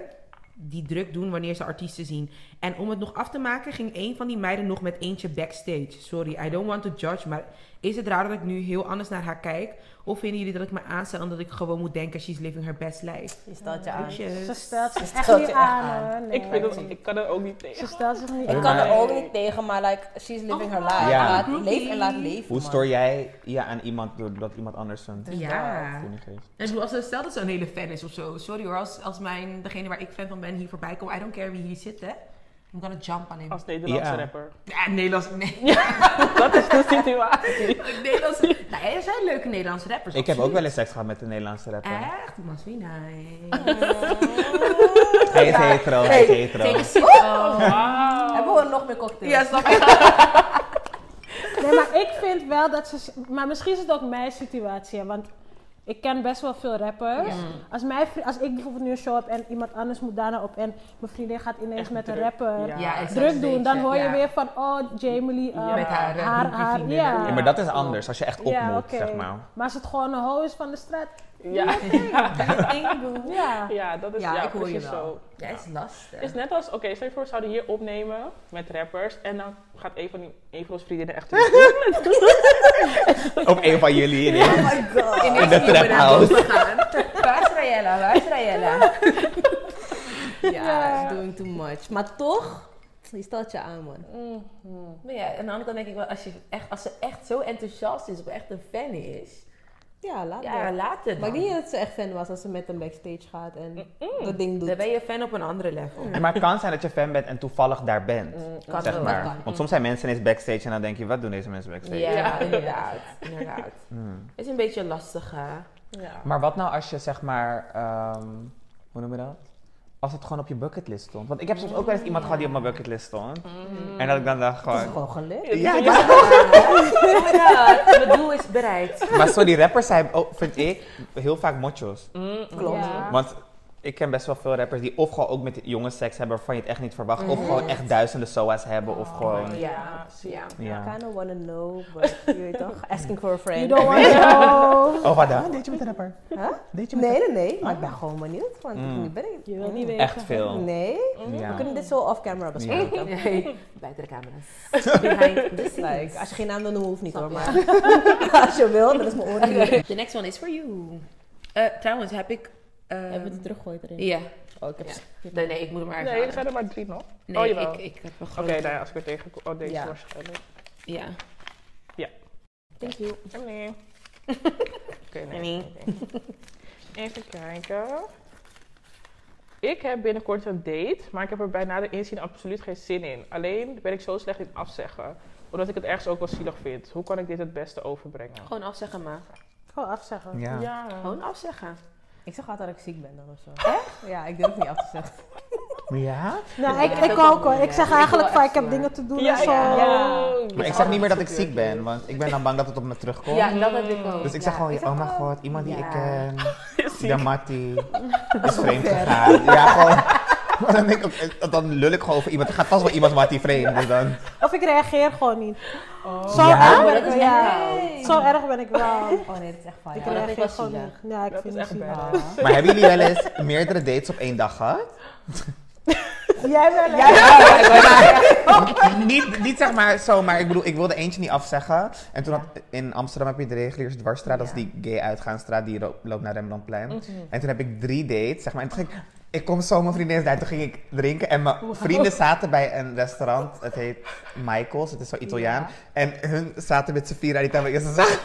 S4: die druk doen wanneer ze artiesten zien. En om het nog af te maken, ging een van die meiden nog met eentje backstage. Sorry, I don't want to judge, maar is het raar dat ik nu heel anders naar haar kijk? Of vinden jullie dat ik me aanstel en dat ik gewoon moet denken, she's living her best life?
S6: Je stelt je aan.
S4: Groetjes.
S2: Ze stelt zich echt
S6: stelt
S2: niet
S6: je echt
S2: aan,
S6: aan.
S2: hoor. Nee.
S1: Ik, vind dat, ik kan er ook niet
S2: Ze
S1: tegen.
S2: stelt zich niet
S3: Ik
S2: aan.
S6: Ik kan er ook
S1: Nee.
S6: niet tegen, maar like, she's living her life.
S3: Ja.
S6: Laat, leef en laat leven.
S3: Hoe
S6: man.
S3: stoor jij je aan iemand doordat iemand anders een
S4: Ja.
S3: voeding geeft?
S5: Ik bedoel, als ze- stel dat ze een hele fan is of zo. Sorry hoor, als, als mijn, degene waar ik fan van ben hier voorbij komt. I don't care wie hier zit, hè. I'm gonna jump aan hem.
S1: Als Nederlandse
S3: Ja.
S1: rapper.
S5: Ja, Nederlands... Nee,
S1: Dat is de situatie.
S5: Nederlands... Nou, er zijn leuke Nederlandse rappers.
S3: Ik heb ook wel
S5: absoluut.
S3: eens seks gehad met een Nederlandse
S4: Eh?
S3: rapper.
S5: Echt? Must be nice.
S3: Hij is hetero, hij is hetero.
S6: Hebben we nog meer cocktails?
S5: Ja, snap je?
S2: Nee, maar ik vind wel dat ze. Maar misschien is het ook mijn situatie, hè, want ik ken best wel veel rappers. Als, mijn, vri- als ik bijvoorbeeld nu een show heb en iemand anders moet daarna op en mijn vriendin gaat ineens
S1: Echt
S2: met een
S1: druk.
S2: rapper
S1: Ja.
S5: Ja, exact,
S2: druk doen,
S5: weet
S2: dan hoor je
S5: Ja.
S2: weer van oh Jamie, eh,
S5: Met haar, eh,
S2: haar,
S5: groepje
S2: haar,
S5: vriendinnen.
S2: ja.
S3: Ja, maar dat is anders, als je echt op
S2: Ja,
S3: moet,
S2: oké.
S3: zeg maar.
S2: Maar als het gewoon een ho is van de straat,
S1: Ja,
S2: ja.
S1: ja dat is
S5: Ja,
S1: ja,
S5: ik hoor je
S1: precies
S5: wel.
S1: zo.
S5: Ja, is lastig.
S1: Het is net als, oké, stel je voor, we zouden hier opnemen met rappers. En dan gaat een van, die, een van onze vriendinnen echt
S3: Op een van jullie. in-
S4: Oh my god.
S5: Ineens
S3: In de
S5: zie je
S3: trap
S5: me naar
S3: house.
S5: boven gaan.
S6: Waar is Rayella?
S4: nou?
S6: Waar is Rayella?
S2: Ja.
S6: Ja, she's doing too much. Maar toch, je stelt je aan, man.
S4: Maar ja, aan de andere kant denk ik wel, als, je echt, als ze echt zo enthousiast is of echt een fan is,
S6: Ja, laat
S4: ja,
S6: maar.
S4: laat het
S6: Maar
S4: dan.
S6: ik denk niet dat ze echt fan was als ze met hem backstage gaat en dat ding doet. Mm.
S4: Dan ben je fan op een andere level.
S3: En Maar het kan zijn dat je fan bent en toevallig daar bent.
S4: Mm, kan
S3: zeg
S4: ook.
S3: maar.
S6: Dat kan.
S3: Want soms zijn mensen ineens backstage en dan denk je, wat doen deze mensen
S4: Ja,
S3: backstage?
S4: inderdaad. inderdaad.
S3: Mm.
S4: Het is een beetje lastig, hè?
S1: Ja.
S3: Maar wat nou als je zeg maar, ehm, hoe noem je dat? Als het gewoon op je bucketlist stond. Want ik heb soms ook wel eens iemand gehad die op mijn bucketlist stond. En dat ik dan dacht
S6: Het is
S3: gewoon...
S6: gewoon gelukt.
S3: Ja,
S1: Ja,
S3: ja.
S4: Oh my god, mijn doel is bereikt.
S3: maar sorry, rappers zijn, ook, vind ik, heel vaak motjo's.
S6: Klopt.
S2: Ja.
S3: Want ik ken best wel veel rappers die of gewoon ook met jonge seks hebben waarvan je het echt niet verwacht. Of gewoon echt duizenden soa's hebben. Of gewoon...
S4: Ja, ja.
S3: Ja.
S6: I kinda wanna know, but je weet toch, asking for a
S2: You
S6: friend.
S2: don't want to know.
S3: Oh, wat dan? Deed je met een rapper?
S6: Huh?
S3: Deed je met
S6: Nee, nee, nee, maar ik ben gewoon benieuwd, want
S3: Oh. Mm.
S6: nu ben ik...
S2: Je wil niet weten.
S3: Echt veel.
S6: Nee, we
S3: Ja.
S6: kunnen dit zo off-camera bespreken.
S4: Nee, buiten de camera's. Behind the scenes.
S6: Like, als je geen naam wil noemen, hoeft niet
S4: Snap
S6: hoor,
S4: je?
S6: maar als je wil, dat is mijn oren. hier.
S4: The next one is for you. Eh, trouwens, heb ik... eh,
S6: Hebben we het teruggooid erin?
S4: Ja.
S6: Oh, ik heb ze-
S4: Nee, nee, ik moet hem maar even
S1: Nee, er
S4: halen.
S1: zijn er maar drie nog.
S4: Nee,
S1: oh, jawel.
S4: ik, ik heb een
S1: Oké,
S4: grote.
S1: nou ja, als ik er tegenkom. Oh, deze
S6: Ja.
S1: is waarschijnlijk.
S4: Ja.
S6: Thank you.
S1: Nee. Oké, nee. Even kijken. Ik heb binnenkort een date, maar ik heb er bij nader inzien absoluut geen zin in. Alleen ben ik zo slecht in afzeggen, omdat ik het ergens ook wel zielig vind. Hoe kan ik dit het beste overbrengen?
S4: Gewoon afzeggen, maar.
S2: Gewoon afzeggen.
S3: Ja.
S4: Gewoon afzeggen.
S6: Ik zeg altijd dat ik ziek ben dan of zo. Echt? Ja, ik durf niet af te zeggen.
S3: Ja?
S2: Nou,
S4: Ja,
S2: ik,
S4: dat
S2: ik
S4: is ook
S2: ook hoor.
S4: niet,
S2: Ik
S4: hè.
S2: zeg
S4: Ik
S2: eigenlijk
S4: wil
S2: van
S4: echt
S2: ik heb
S4: zo.
S2: dingen te doen
S1: Ja,
S2: en zo.
S1: ja.
S3: Maar ik zeg niet meer dat ik ziek ben, want ik ben dan bang dat het op me terugkomt.
S4: Ja, dat heb ik ook.
S3: Dus ik zeg gewoon,
S6: ik zeg
S3: oh mijn
S6: gewoon-
S3: god, iemand die
S4: Ja.
S3: ik ken, de Mattie, is vreemd gegaan. Ja, gewoon. Maar dan, denk ik, ook, dan lul ik gewoon over iemand. Er gaat vast wel iemand Mattie vreemd. Dus dan,
S2: Of ik reageer gewoon niet. Zo,
S3: Ja?
S2: erg
S4: Maar
S2: ben
S4: Oh, dat
S2: ik
S4: is
S2: wel,
S4: echt
S2: ja.
S4: koud.
S2: zo erg ben ik wel.
S6: Oh nee, dat is echt fijn.
S2: Ik
S4: dat vind ik wel
S2: reageer gewoon niet.
S4: zielig.
S2: Ja, ik
S1: Dat
S2: vind
S1: is echt
S2: het zielig.
S1: bad.
S3: maar hebben jullie wel eens meerdere dates op één dag gehad?
S2: Jij wel, hè?
S3: niet, niet zeg maar zo, maar ik bedoel, ik wilde eentje niet afzeggen. En toen had, in Amsterdam heb je de reguliers dwarsstraat, dat is die gay uitgaansstraat die ro- loopt naar Rembrandtplein. En toen heb ik drie dates, zeg maar. En toen ging ik, ik kom zo mijn vriendin daar. Toen ging ik drinken en mijn vrienden zaten bij een restaurant, het heet Michael's, het is zo Italiaan. En hun zaten met Safira, die kwamen eerst en zagen.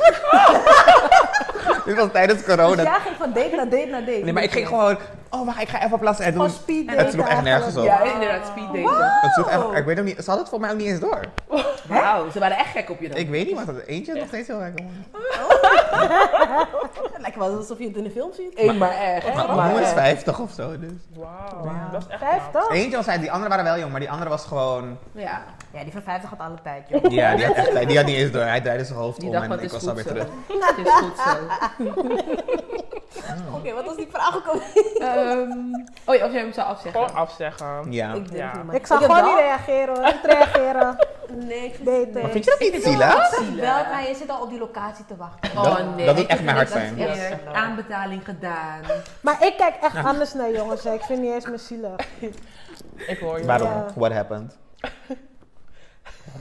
S3: Dit was tijdens corona.
S6: Dus jij ging van date naar date naar date?
S3: Nee, maar ik ging gewoon, oh, maar ik ga even plassen. En toen,
S2: Gewoon speed
S3: het sloeg echt
S2: daten
S3: nergens op.
S2: eigenlijk.
S4: Ja, inderdaad, speed daten.
S3: Het sloeg echt, ik weet ook niet, ze hadden het voor mij ook niet eens door.
S4: Wauw, ze waren echt gek op je dan.
S3: Ik weet niet, want dat eentje is nog steeds heel lekker. man.
S4: Het lijkt wel alsof je het in een film ziet.
S7: Eén maar echt.
S3: Mijn
S7: maar
S3: moeder
S7: echt.
S3: is 50 of zo, dus.
S1: Wauw,
S4: Wauw.
S1: dat is echt knap.
S2: 50?
S3: Eentje was hij, die andere waren wel jong, maar die andere was gewoon...
S7: Ja,
S6: Ja, die van 50 had alle tijd, joh.
S3: Ja, die had, echt, die had niet eens door. Hij draaide zijn hoofd
S7: die
S3: om
S7: dacht
S3: Oh, en
S7: wat
S3: ik
S4: dus
S7: is
S3: was alweer
S7: goed zo.
S3: terug.
S7: Het is goed zo.
S4: Oké, wat was die vraag ook al?
S7: Ehm, oh ja, of jij hem zou afzeggen.
S1: Gewoon afzeggen.
S3: Ja.
S4: Ik denk
S1: Ja.
S4: niet, maar-
S2: Ik zal
S4: heb
S2: gewoon niet
S4: wel-
S2: reageren hoor. Niet reageren.
S4: Nee, ik vind het
S2: Daten.
S3: Maar vind je dat niet zielig?
S6: Wel, maar je zit al op die locatie te wachten.
S4: Oh,
S3: Dat- dat doet echt mijn hart pijn.
S4: niet
S7: Ja.
S4: eerlijk. Aanbetaling gedaan.
S2: Maar ik kijk echt anders naar jongens. hè. Ik vind niet eens meer zielig.
S1: Ik hoor je.
S3: Waarom?
S2: Ja.
S3: What happened?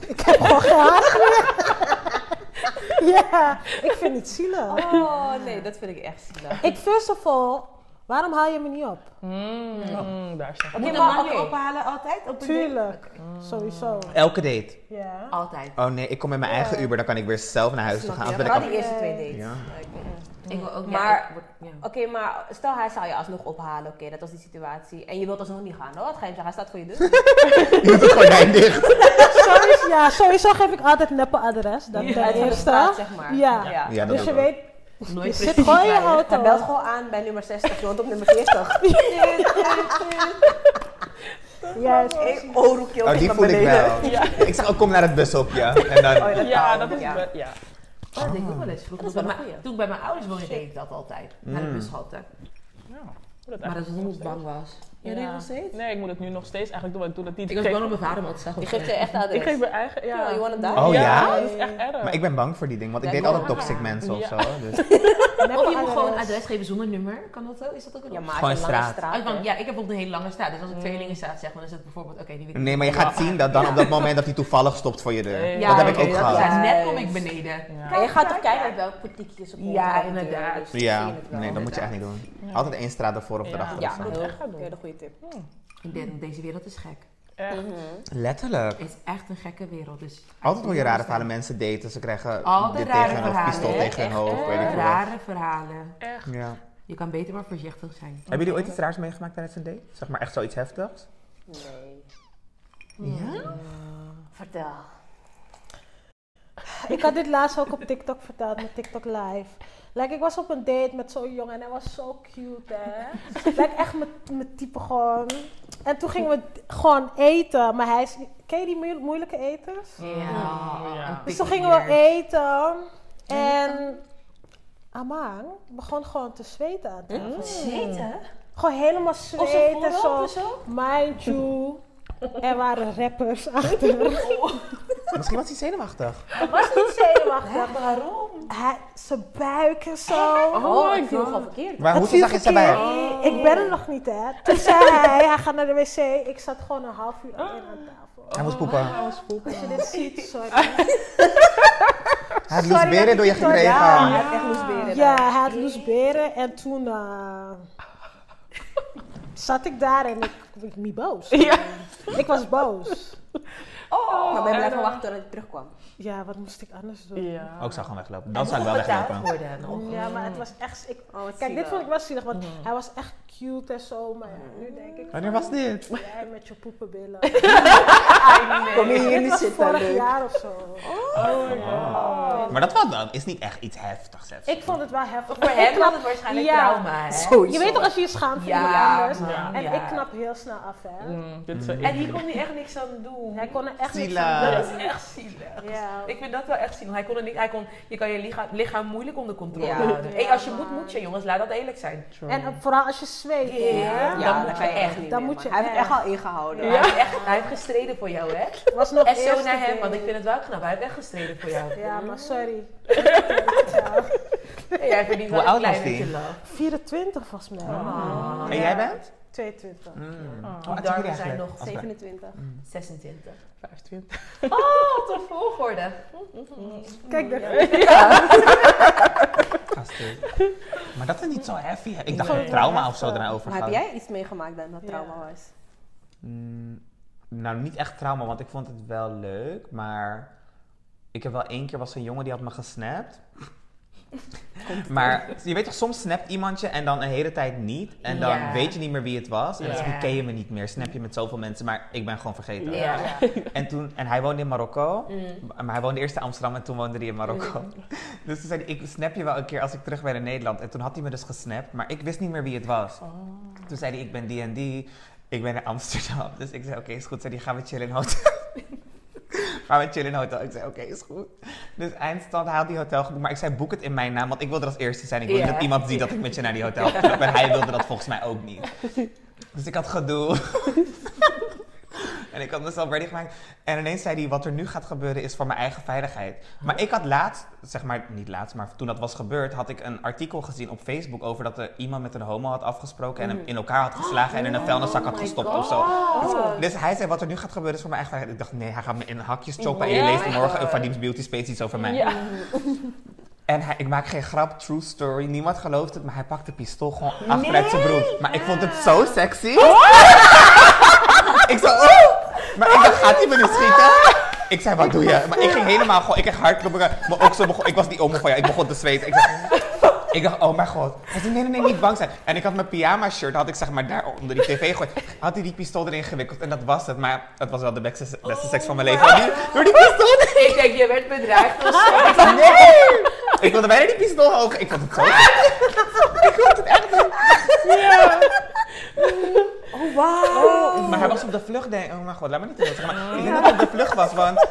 S2: Ik heb gewoon geen haren meer. Ja, ik vind het zielig.
S6: Oh, nee, dat vind ik echt zielig.
S2: Ik first of all, waarom haal je me niet op?
S1: Mm, mm, daar staat
S4: Moet
S6: Oké,
S4: een
S6: maar
S4: man je
S6: oké.
S4: ophalen altijd? Op een
S2: Tuurlijk, Mm. sowieso.
S3: Elke date.
S2: Ja.
S7: Altijd.
S3: Oh nee, ik kom met mijn eigen Uber, dan kan ik weer zelf naar huis gaan. Anders ben ik
S6: Vooral
S3: al-
S6: die eerste twee dates.
S3: Ja.
S7: Ik wil ook
S6: Maar-
S7: ja, ik word- ja.
S6: Oké, maar stel hij zou je alsnog ophalen. Oké, dat was die situatie. En je wilt alsnog niet gaan. hoor. Wat ga je hem zeggen? Hij staat voor je deur.
S3: Je doet het gordijn dicht.
S2: Sowieso, ja, sowieso geef ik altijd neppe adres. Dat
S6: Hij
S2: ten
S6: is verplaatst,
S2: eerste.
S6: zeg maar.
S2: Ja.
S6: ja.
S3: Ja, dat
S2: Dus je
S3: ook wel.
S2: weet, je
S4: Nooit
S2: zit gewoon in je
S6: Hij belt
S2: auto.
S6: gewoon aan bij nummer 60, je woont op nummer 40.
S2: Juist.
S6: Eén oorroepje
S3: Oh, die voel ik wel. Ik zeg ook, kom naar het bushokje. En dan...
S1: Ja, dat is
S6: Ja.
S1: wel- ja.
S4: Oh, dat deed ik ook wel eens vroeger.
S6: Dat is
S4: Bij
S6: wel
S4: mijn-
S6: een goeie.
S4: Toen ik bij mijn ouders woonde, deed ik dat altijd. Naar
S3: Mm.
S4: de bushalte.
S1: Dat
S4: Maar dat
S1: eigenlijk nog
S4: is omdat ik
S1: steeds.
S4: bang was.
S1: Ja.
S4: Jij deed nog steeds?
S1: Nee, ik moet het nu nog steeds eigenlijk doen, want ik doe dat niet.
S4: Ik was bang dat mijn vader me had zag.
S6: Die geeft je echt adres.
S1: Ik geef mijn eigen, ja.
S6: Yo, you wanna die?
S3: Oh ja?
S1: dat is echt erg.
S3: Maar ik ben bang voor die ding, want ik
S6: Ja,
S3: deed
S6: ja.
S3: altijd toxic mensen of zo. Dus.
S4: Of je moet gewoon een adres geven zonder nummer. Kan dat zo? Is dat ook een
S6: Ja,
S4: optie?
S6: maar
S3: Gewoon
S6: als je een lange
S3: straat.
S6: straat
S4: Ah, want
S6: hebt.
S4: ja, ik heb ook een hele lange staat. Dus als ik tweelingenstaat zeg, dan is het bijvoorbeeld... Oké, die weet ik
S3: Nee, maar je gaat zien dat dan op dat moment dat hij toevallig stopt voor je deur.
S1: Ja,
S3: dat heb ik
S4: oké,
S3: ook gehad.
S4: is waar. net kom ik
S6: Juist.
S4: beneden.
S1: Ja.
S6: En je gaat toch kijken uit welk boutiqueje ze komt.
S4: Ja, inderdaad.
S3: Ja, nee, dat moet je echt niet doen. Altijd één straat ervoor of
S1: Ja.
S3: erachter.
S6: Ja,
S3: of zo.
S1: moet
S6: heel-
S1: echt gaan doen.
S6: hele goede tip.
S4: Ik denk, deze wereld is gek.
S1: Echt.
S3: Letterlijk.
S4: Het is echt een gekke wereld. Dus
S3: Altijd hoor je rare verhalen. Mensen daten, ze krijgen
S4: Altijd
S3: dit
S4: rare
S3: tegen hun hoofd,
S4: verhalen,
S3: pistool
S4: hè?
S3: tegen hun hoofd, weet ik veel wat.
S4: Rare verhalen.
S3: Ja.
S4: Je kan beter maar voorzichtig zijn.
S3: Hebben jullie ooit iets raars meegemaakt tijdens een date? Zeg maar echt zoiets heftigs?
S6: Nee.
S3: Ja?
S6: Vertel.
S2: Ik had dit laatst ook op TikTok verteld, met TikTok live. Like, ik was op een date met zo'n jongen en hij was zo cute, hè. Like, echt mijn- mijn type gewoon. En toen gingen we gewoon eten, maar hij is... Ken je die moe- moeilijke eters?
S1: Ja.
S4: Ja.
S2: Dus toen gingen we eten en... Amaan begon gewoon te zweten aan tafel.
S6: Zeten?
S2: Gewoon helemaal
S6: Op zijn
S2: zweten,
S6: voorhoofd
S2: zo.
S6: en zo?
S2: Mind you, er waren rappers achter.
S3: Misschien was hij zenuwachtig.
S2: Het was niet zenuwachtig.
S6: Waarom?
S2: Hij, zijn buik en zo.
S6: Oh, ik viel gewoon verkeerd.
S3: Maar hoe
S2: Het viel
S3: zag je ze
S2: verkeerd.
S3: bij?
S2: Ik ben er nog niet, hè. Toen zei hij, hij gaat naar de wc. Ik zat gewoon een half uur alleen aan tafel.
S3: Hij moest poepen.
S1: Oh, spook.
S2: Als je dit ziet, sorry.
S3: Hij had
S2: Sorry dat
S3: loesberen
S2: ik
S3: door je
S2: het zo-
S3: gekregen.
S2: ja.
S6: Hij heeft echt loesberen.
S2: Ja, hij had Loes Beren en toen eh, zat ik daar en ik was niet boos. Ik was boos.
S6: Oh, maar ben blijven wachten tot hij terugkwam.
S2: Ja, wat moest ik anders
S3: Oh,
S2: doen?
S1: Ja.
S3: Ook zou gaan weglopen. Dan zou ik wel weglopen.
S4: worden nog.
S2: Ja, maar het was echt... Ik,
S6: Oh, wat
S2: kijk, dit
S6: zielig.
S2: vond ik wel zielig, want hij was echt cute en zo. Maar ja, nu
S4: Mhm.
S2: denk ik...
S3: Wanneer was dit?
S2: van, Jij met je poepenbillen.
S6: Kom je hier
S2: Dit
S6: niet
S2: was
S6: zitten,
S2: vorig
S6: leuk.
S2: jaar of zo. Oh.
S1: Oh my god.
S3: Maar dat was dan. Is niet echt iets heftigs. hè?
S2: Ik vond het wel heftig.
S4: Voor
S2: Ik
S4: hem
S2: knap-
S4: was het waarschijnlijk
S2: Ja.
S4: trauma, hè?
S2: Je weet toch als je je schaamt voor
S4: Ja,
S2: iemand anders?
S4: man,
S2: En
S4: ja.
S2: ik knap heel snel af, hè.
S3: Oh.
S1: Mm, dit is een-
S4: En hier kon hij echt niks aan doen.
S2: Hij kon er echt niks
S3: Zielig.
S2: aan
S4: Dat
S2: doen.
S4: is echt zielig.
S2: Ja.
S4: Ik vind dat wel echt zielig. Hij kon er niet, hij kon, je kan je lichaam, lichaam moeilijk onder controle
S6: Ja.
S4: houden.
S2: Ja,
S4: Hey, als je
S2: maar-
S4: moet, moet je jongens. Laat dat eerlijk zijn.
S1: True.
S2: En ook vooral als je zweet.
S4: Ja.
S2: hè.
S4: Dan moet je echt niet
S2: Dan
S6: meer,
S2: moet je
S6: man. Hij heeft
S2: echt.
S6: echt al ingehouden.
S4: Hij, heeft echt, hij heeft gestreden voor jou, hè?
S2: Het was nog
S4: En zo
S2: eerste
S4: naar hem,
S2: date.
S4: want ik vind het wel knap. Hij heeft echt gestreden voor jou.
S2: Ja, maar sorry.
S4: Hey, jij verdient
S3: Hoe
S4: wel een
S3: oud was
S4: klein beetje
S3: die?
S4: love.
S2: 24 volgens mij.
S4: Oh.
S2: Oh,
S3: En jij bent?
S2: 22.
S3: Mm.
S1: Oh,
S3: Hoe oud zijn
S4: Daar
S3: jullie
S4: zijn
S3: eigenlijk?
S4: nog
S3: Als we- Mm,
S6: 27.
S4: 26.
S1: 25.
S4: Oh, tot volgorde.
S2: Kijk, daar
S3: Gasten. eh. Maar dat is niet zo heavy. Ik dacht
S1: Nee.
S3: een trauma of zo eraan
S6: Maar heb
S3: overgaan.
S6: jij iets meegemaakt dan dat
S2: Ja.
S6: trauma was?
S3: Mm, nou, niet echt trauma, want ik vond het wel leuk, maar ik heb wel één keer was er een jongen die had me gesnapt. Maar je weet toch, soms snapt iemand je en dan een hele tijd niet. En dan
S4: Ja.
S3: weet je niet meer wie het was. En dan
S4: Ja.
S3: ken je me niet meer. Snap je met zoveel mensen, maar ik ben gewoon vergeten.
S4: Ja.
S3: En, toen, en hij woonde in Marokko.
S4: Mm.
S3: Maar hij woonde eerst in Amsterdam en toen woonde hij in Marokko. Dus toen zei hij, ik snap je wel een keer als ik terug ben in Nederland. En toen had hij me dus gesnapt, maar ik wist niet meer wie het was. Toen zei hij, ik ben die en die. Ik ben in Amsterdam. Dus ik zei, oké, is goed. Zei hij, gaan we chillen in een hotel. gaan we chillen in een hotel. Ik zei, oké, is goed. Dus eindstand haalde die hotel geboekt. Maar ik zei, boek het in mijn naam, want ik wilde als eerste zijn. Ik wilde
S4: Ja.
S3: dat iemand ziet dat ik met je naar die hotel ga. Maar hij wilde dat volgens mij ook niet. Dus ik had gedoe. En ik had mezelf ready gemaakt. En ineens zei hij, wat er nu gaat gebeuren is voor mijn eigen veiligheid. Maar ik had laatst, zeg maar niet laatst, maar toen dat was gebeurd, had ik een artikel gezien op Facebook over dat er iemand met een homo had afgesproken en
S1: Mhm.
S3: hem in elkaar had geslagen en in
S1: Oh
S3: een vuilniszak had gestopt of zo. Dus hij zei, wat er nu gaat gebeuren is voor mijn eigen veiligheid. Ik dacht, nee, hij gaat me in hakjes choppen en je
S1: Ja.
S3: leest morgen een Fadim's Beauty Space iets over mij.
S1: Ja.
S3: En hij, ik maak geen grap, true story. Niemand gelooft het, maar hij pakt de pistool gewoon achteruit zijn broek. Maar ik vond het zo sexy. ik zo, oh! Maar ik dacht, gaat hij me nu schieten? Ik zei, wat doe je? Maar ik ging helemaal gewoon, ik ging hardlopen. Mijn oksel begon, ik was die oom van ja, ik begon te zweten. Ik, dacht, ik dacht, oh mijn god. Hij zei, nee, nee, nee, niet bang zijn. En ik had mijn pyjama shirt, had ik zeg maar daar onder die tv gegooid. Had hij die pistool erin gewikkeld en dat was het. Maar dat was wel de beste, beste seks van mijn leven. Door die- Door die pistool
S4: Ik denk, je werd bedreigd of zo.
S3: ik dacht, nee! Ik wilde bijna die pistool hoog. Ik vond het zo. ik vond het echt.
S4: Oh, wauw. Oh.
S3: Maar hij was op de vlucht, denk ik. Oh mijn god, laat me niet te veel zeggen. Maar ik denk dat hij op de vlucht was, want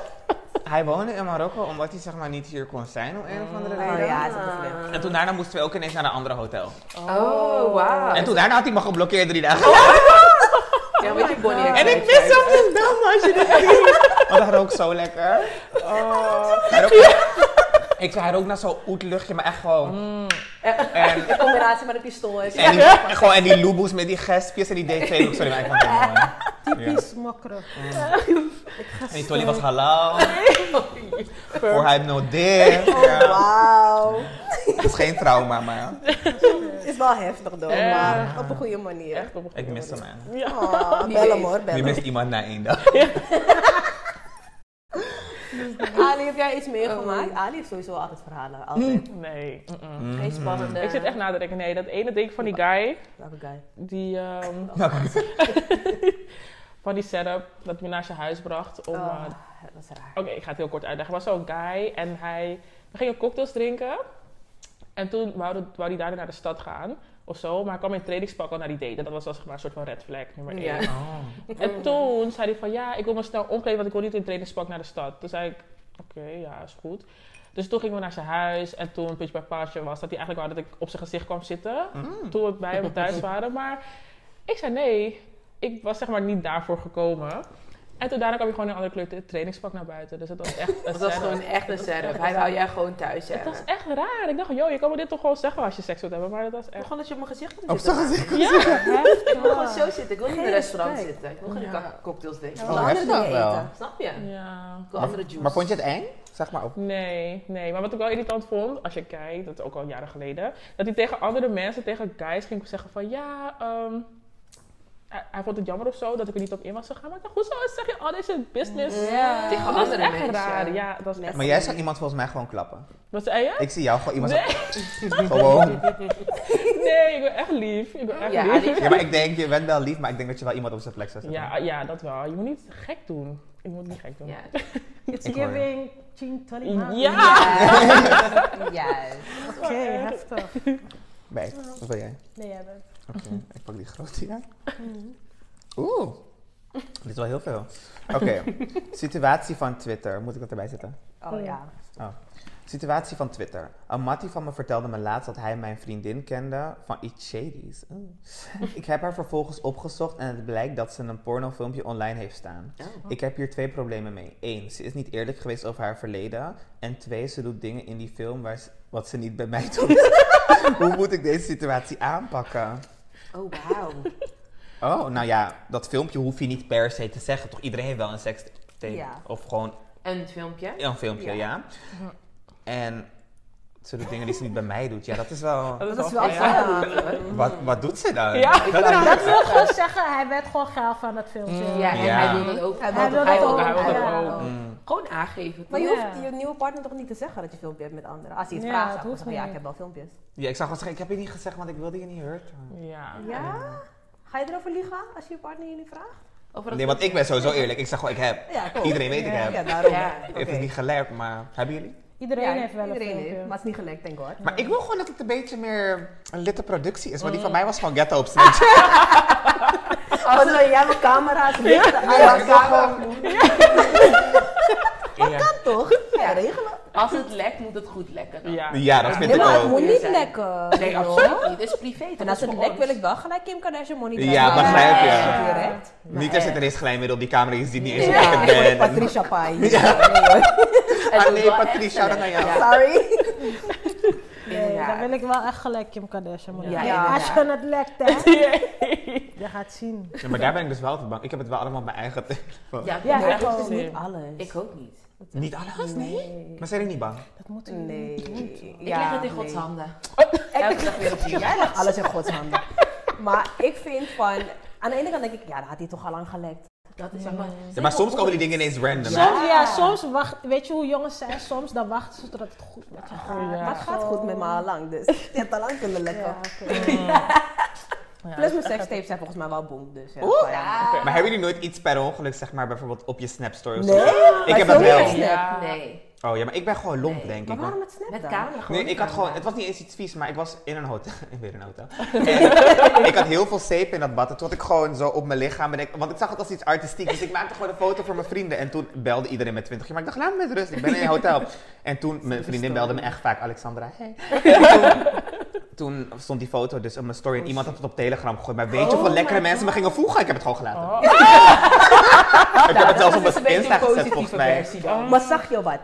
S3: hij woonde in Marokko omdat hij zeg maar niet hier kon zijn om een of andere
S4: Oh
S3: reden.
S4: ja, dat is leuk.
S3: En toen daarna moesten we ook ineens naar een ander hotel.
S4: Oh, wauw.
S3: En toen daarna had hij me geblokkeerd drie
S4: Oh.
S3: dagen.
S4: Ja, weet je, Bonnie.
S3: En ik mis hem dus dan, als je dit ziet. Want hij rookt Oh, zo lekker. Hij rookt- Ik zei, hij rookt naar zo'n oet luchtje, maar echt gewoon... Mm. En
S6: In combinatie met een pistool. heeft-
S3: En die, en gewoon, en die loeboes met die gespjes en die DT looks. Sorry, maar ik vond het mooi. Mm.
S2: Typisch mokkeren.
S3: En die tolly was halal. Voor hij no dick. Ja.
S6: Wauw.
S3: Dat is geen trauma, maar
S6: Is wel heftig though,
S1: Ja.
S6: maar op een goede manier.
S1: Echt op een
S3: ik
S1: goede
S3: mis hem.
S1: manier.
S3: hè.
S6: Oh, bel hem hoor,
S3: Je
S6: bel hem.
S3: mist iemand na één dag.
S6: Ali, heb jij iets meegemaakt? Ali heeft sowieso altijd verhalen. Altijd.
S1: Nee. mm-mm.
S4: Geen spannende.
S1: Ik zit echt na te denken. Nee, dat ene ding van die guy,
S6: Welke guy?
S1: die, ehm, van die setup dat me naar zijn huis bracht om eh,
S6: Oh, dat was raar.
S1: Oké, ik ga het heel kort uitleggen. Er was zo'n guy en hij... We gingen cocktails drinken. En toen wou, de- wou hij daarna naar de stad gaan of zo. Maar hij kwam in trainingspak al naar die date. En dat was als zeg maar, een soort van red flag, nummer één.
S4: Ja.
S3: Oh.
S1: En toen zei hij van... Ja, ik wil me snel omkleden, want ik wil niet in trainingspak naar de stad. Toen zei ik... Oké, ja, is goed. Dus toen gingen we naar zijn huis. En toen Punch bij Paasje was, dat hij eigenlijk wou dat ik op zijn gezicht kwam zitten.
S4: Mm.
S1: Toen we bij hem thuis waren. Maar ik zei nee. Ik was zeg maar niet daarvoor gekomen. En toen daarna kwam je gewoon in een andere kleur trainingspak naar buiten. Dus dat was echt een
S4: Dat was
S1: setup.
S4: gewoon echt een
S1: Dat was echt
S4: setup.
S1: een
S4: Hij
S1: setup.
S4: wou jij gewoon thuis
S1: Het was
S4: hebben.
S1: echt raar. Ik dacht, joh, je kan me dit toch gewoon zeggen als je seks wilt hebben. Maar dat was echt...
S4: Gewoon dat je op mijn gezicht moet
S3: Op
S4: zitten.
S3: zijn gezicht.
S1: Ja,
S4: Ik wil gewoon zo zitten. Ik wil niet in een
S6: Ah, Geen
S4: restaurant
S6: respect.
S4: zitten. Ik wil geen
S1: Ja.
S4: cocktails drinken.
S3: Oh, heb je dat wel?
S4: Snap je? Ik
S1: ja.
S4: wil andere juice.
S3: Maar vond je het eng? Zeg maar op.
S1: Nee, nee. Maar wat ik wel irritant vond, als je kijkt, dat is ook al jaren geleden, dat hij tegen andere mensen, tegen guys, ging zeggen van ja, ehm, hij, hij vond het jammer of zo dat ik er niet op in was gegaan. Maar ik dacht, hoezo zeg je al deze business?
S6: Ja.
S4: Tegen
S1: Dat is
S4: andere
S1: echt
S4: mensen.
S1: raar. Ja, dat is echt.
S3: Maar jij zou iemand volgens mij gewoon klappen.
S1: Wat zei je?
S3: Ik zie jou gewoon iemand
S1: Nee.
S3: zo- gewoon.
S1: Nee, ik ben echt lief. Ik ben echt
S4: Ja,
S1: lief.
S4: lief.
S3: Ja, maar ik denk, je bent wel lief, maar ik denk dat je wel iemand op zijn plek zou zetten.
S1: Ja, ja, dat wel. Je moet niet gek doen. Je moet niet gek doen.
S4: Ja.
S2: It's
S3: Ik hoor je.
S2: giving Ching Tolly
S1: Ja.
S2: Maan.
S6: Juist.
S2: Oké, heftig.
S3: Nee, wat wil jij?
S2: Nee, jij bent.
S3: Oké, ik pak die grote, ja. Oeh, dit is wel heel veel. Oké, situatie van Twitter. Moet ik dat erbij zetten?
S6: Oh ja.
S3: Situatie van Twitter. Een mattie van me vertelde me laatst dat hij mijn vriendin kende van iets shadies. Oh. Ik heb haar vervolgens opgezocht en het blijkt dat ze een pornofilmpje online heeft staan. Ik heb hier twee problemen mee. Eén, ze is niet eerlijk geweest over haar verleden. En twee, ze doet dingen in die film waar ze- wat ze niet bij mij doet. Hoe moet ik deze situatie aanpakken?
S4: Oh, wauw.
S3: Oh, nou ja, dat filmpje hoef je niet per se te zeggen. Toch iedereen heeft wel een sekstape.
S6: Ja.
S3: Of gewoon
S4: Een filmpje.
S3: een filmpje, ja. En Ze doet dingen die ze niet bij mij doet. Ja, dat is wel...
S1: Dat
S5: Dat is wel
S1: wel
S5: ja.
S1: ja.
S3: Wat, wat doet ze dan?
S1: Ja,
S2: Dat wil gewoon zeggen, hij werd gewoon geil van het filmpje.
S4: Mm, Ja, en
S3: Ja.
S4: hij wil dat ook.
S5: Hij
S2: wil dat ook. Hij wil dat
S4: ja.
S1: ook.
S3: Mm.
S4: Gewoon aangeven.
S6: Maar je
S2: Ja.
S6: hoeft je nieuwe partner toch niet te zeggen dat je filmpje hebt met anderen. Als hij het
S2: Ja,
S6: vraagt,
S2: dat
S6: dan
S2: hoeft
S6: zeg je, ja,
S2: niet.
S6: ik heb wel filmpjes.
S3: ja, ik zou gewoon zeggen, ik heb je niet gezegd, want ik wilde je niet hurten.
S1: Ja.
S6: Ja? Ga je erover liegen als je partner je nu vraagt?
S4: Over dat
S3: Nee, want ik ben sowieso eerlijk. Ik zeg gewoon, ik heb.
S6: Ja, cool.
S3: Iedereen weet ik
S6: Oh, ja,
S3: heb.
S6: Ja, daarom.
S4: Ja.
S6: Oké.
S3: Het is niet gelekt, maar hebben jullie?
S2: Iedereen
S6: Ja,
S2: heeft wel een
S6: iedereen
S2: filmpje.
S6: heeft, maar het is niet gelekt, denk God.
S3: Maar ik wil gewoon dat het een beetje meer een litte productie is. Want die van mij was gewoon ghetto op Snapchat.
S6: Als we jij mijn camera's lichten aan
S3: Ja,
S6: elkaar.
S3: ik wil gewoon-
S6: Kan toch? Ja, regelen.
S4: Als het lekt, moet het goed lekken. dan.
S1: Ja.
S3: Ja, dat vind
S6: Nee,
S3: ik
S6: maar het
S3: ook.
S6: moet
S4: Ja,
S6: niet
S4: zijn.
S6: lekken.
S4: Oh. Nee,
S6: joh.
S4: absoluut niet. Het is privé. toch?
S6: En
S4: Dat
S6: als
S4: is
S6: het
S4: voor
S6: lekt
S4: ons.
S6: wil ik wel gelijk Kim Kardashian monitor.
S3: Ja, begrijp je.
S6: Direct.
S3: Niet er zit ineens glijmiddel op die camera is die niet eens op
S6: Ja,
S3: ik
S6: ik word
S3: ben.
S6: Patricia Pai.
S4: Het
S3: Ah
S4: moet
S3: nee,
S4: wel
S3: Patricia,
S4: echt
S3: dat aan
S4: gelegd.
S3: jou.
S4: Ja,
S6: Sorry.
S2: Nee,
S4: inderdaad.
S2: dan wil ik wel echt gelijk Kim Kardashian.
S4: Ja,
S2: Ja,
S4: inderdaad.
S2: Als je het lekt, hè. Je gaat zien.
S3: Ja, maar daar ben ik dus wel te bang. Ik heb het wel allemaal op mijn eigen telefoon.
S4: Ja,
S2: Ja,
S4: maar
S2: echt
S1: dat
S2: wel.
S1: is niet-
S6: Alles.
S4: Ik ook niet.
S3: Niet alles, nee. Maar zijn jullie niet bang?
S2: Dat moet u
S6: Nee.
S2: niet doen.
S4: Ik leg het in Gods handen.
S6: Oh,
S4: Elke dag weer opnieuw.
S6: Jij legt alles in Gods handen. Maar ik vind van... Aan de ene kant denk ik, ja, dat had hij toch al lang gelekt.
S4: Dat is allemaal.
S3: Ja, maar soms komen die dingen ineens random.
S2: Soms, ja, soms wacht, weet je hoe jongens zijn? Soms dan wachten ze totdat het goed met je gaat.
S1: Ja.
S6: Maar het gaat goed met me al lang, dus je hebt al lang kunnen lekken.
S2: Ja, oké.
S6: Plus mijn sekstapes zijn volgens mij wel boem, dus ja. fijn.
S3: Maar hebben jullie nooit iets per ongeluk, zeg maar, bijvoorbeeld op je Snap Story of
S6: Nee,
S3: zo? Ik
S6: maar
S3: heb dat
S6: zo
S3: wel.
S6: niet.
S1: Ja.
S4: Nee.
S3: Oh ja, maar ik ben gewoon lomp,
S4: Nee.
S3: denk
S6: Maar
S3: ik. hoor.
S6: waarom het snap
S4: Met
S6: dan?
S4: camera gewoon. eh,
S3: Nee, ik had
S4: camera.
S3: gewoon, het was niet eens iets vies, maar ik was in een hotel. Weer een hotel. En ik had heel veel zeep in dat bad. En toen had ik gewoon zo op mijn lichaam. En ik, want ik zag het als iets artistiek. Dus ik maakte gewoon een foto voor mijn vrienden. En toen belde iedereen met 20 jaar. Maar ik dacht, laat me met rust. Ik ben in een hotel. En toen, mijn vriendin belde me echt vaak. Alexandra, hey. Toen, toen stond die foto dus op mijn story.
S4: Oh,
S3: En iemand had het op Telegram gegooid. Maar weet je hoeveel lekkere mensen me gingen voegen? Ik heb het gewoon gelaten. Ik heb het zelfs op
S4: Oh. Dat is
S3: mijn
S4: een beetje
S3: Insta gezet,
S4: een positieve
S3: volgens mij.
S4: versie dan.
S1: Oh,
S6: Maar zag je wat?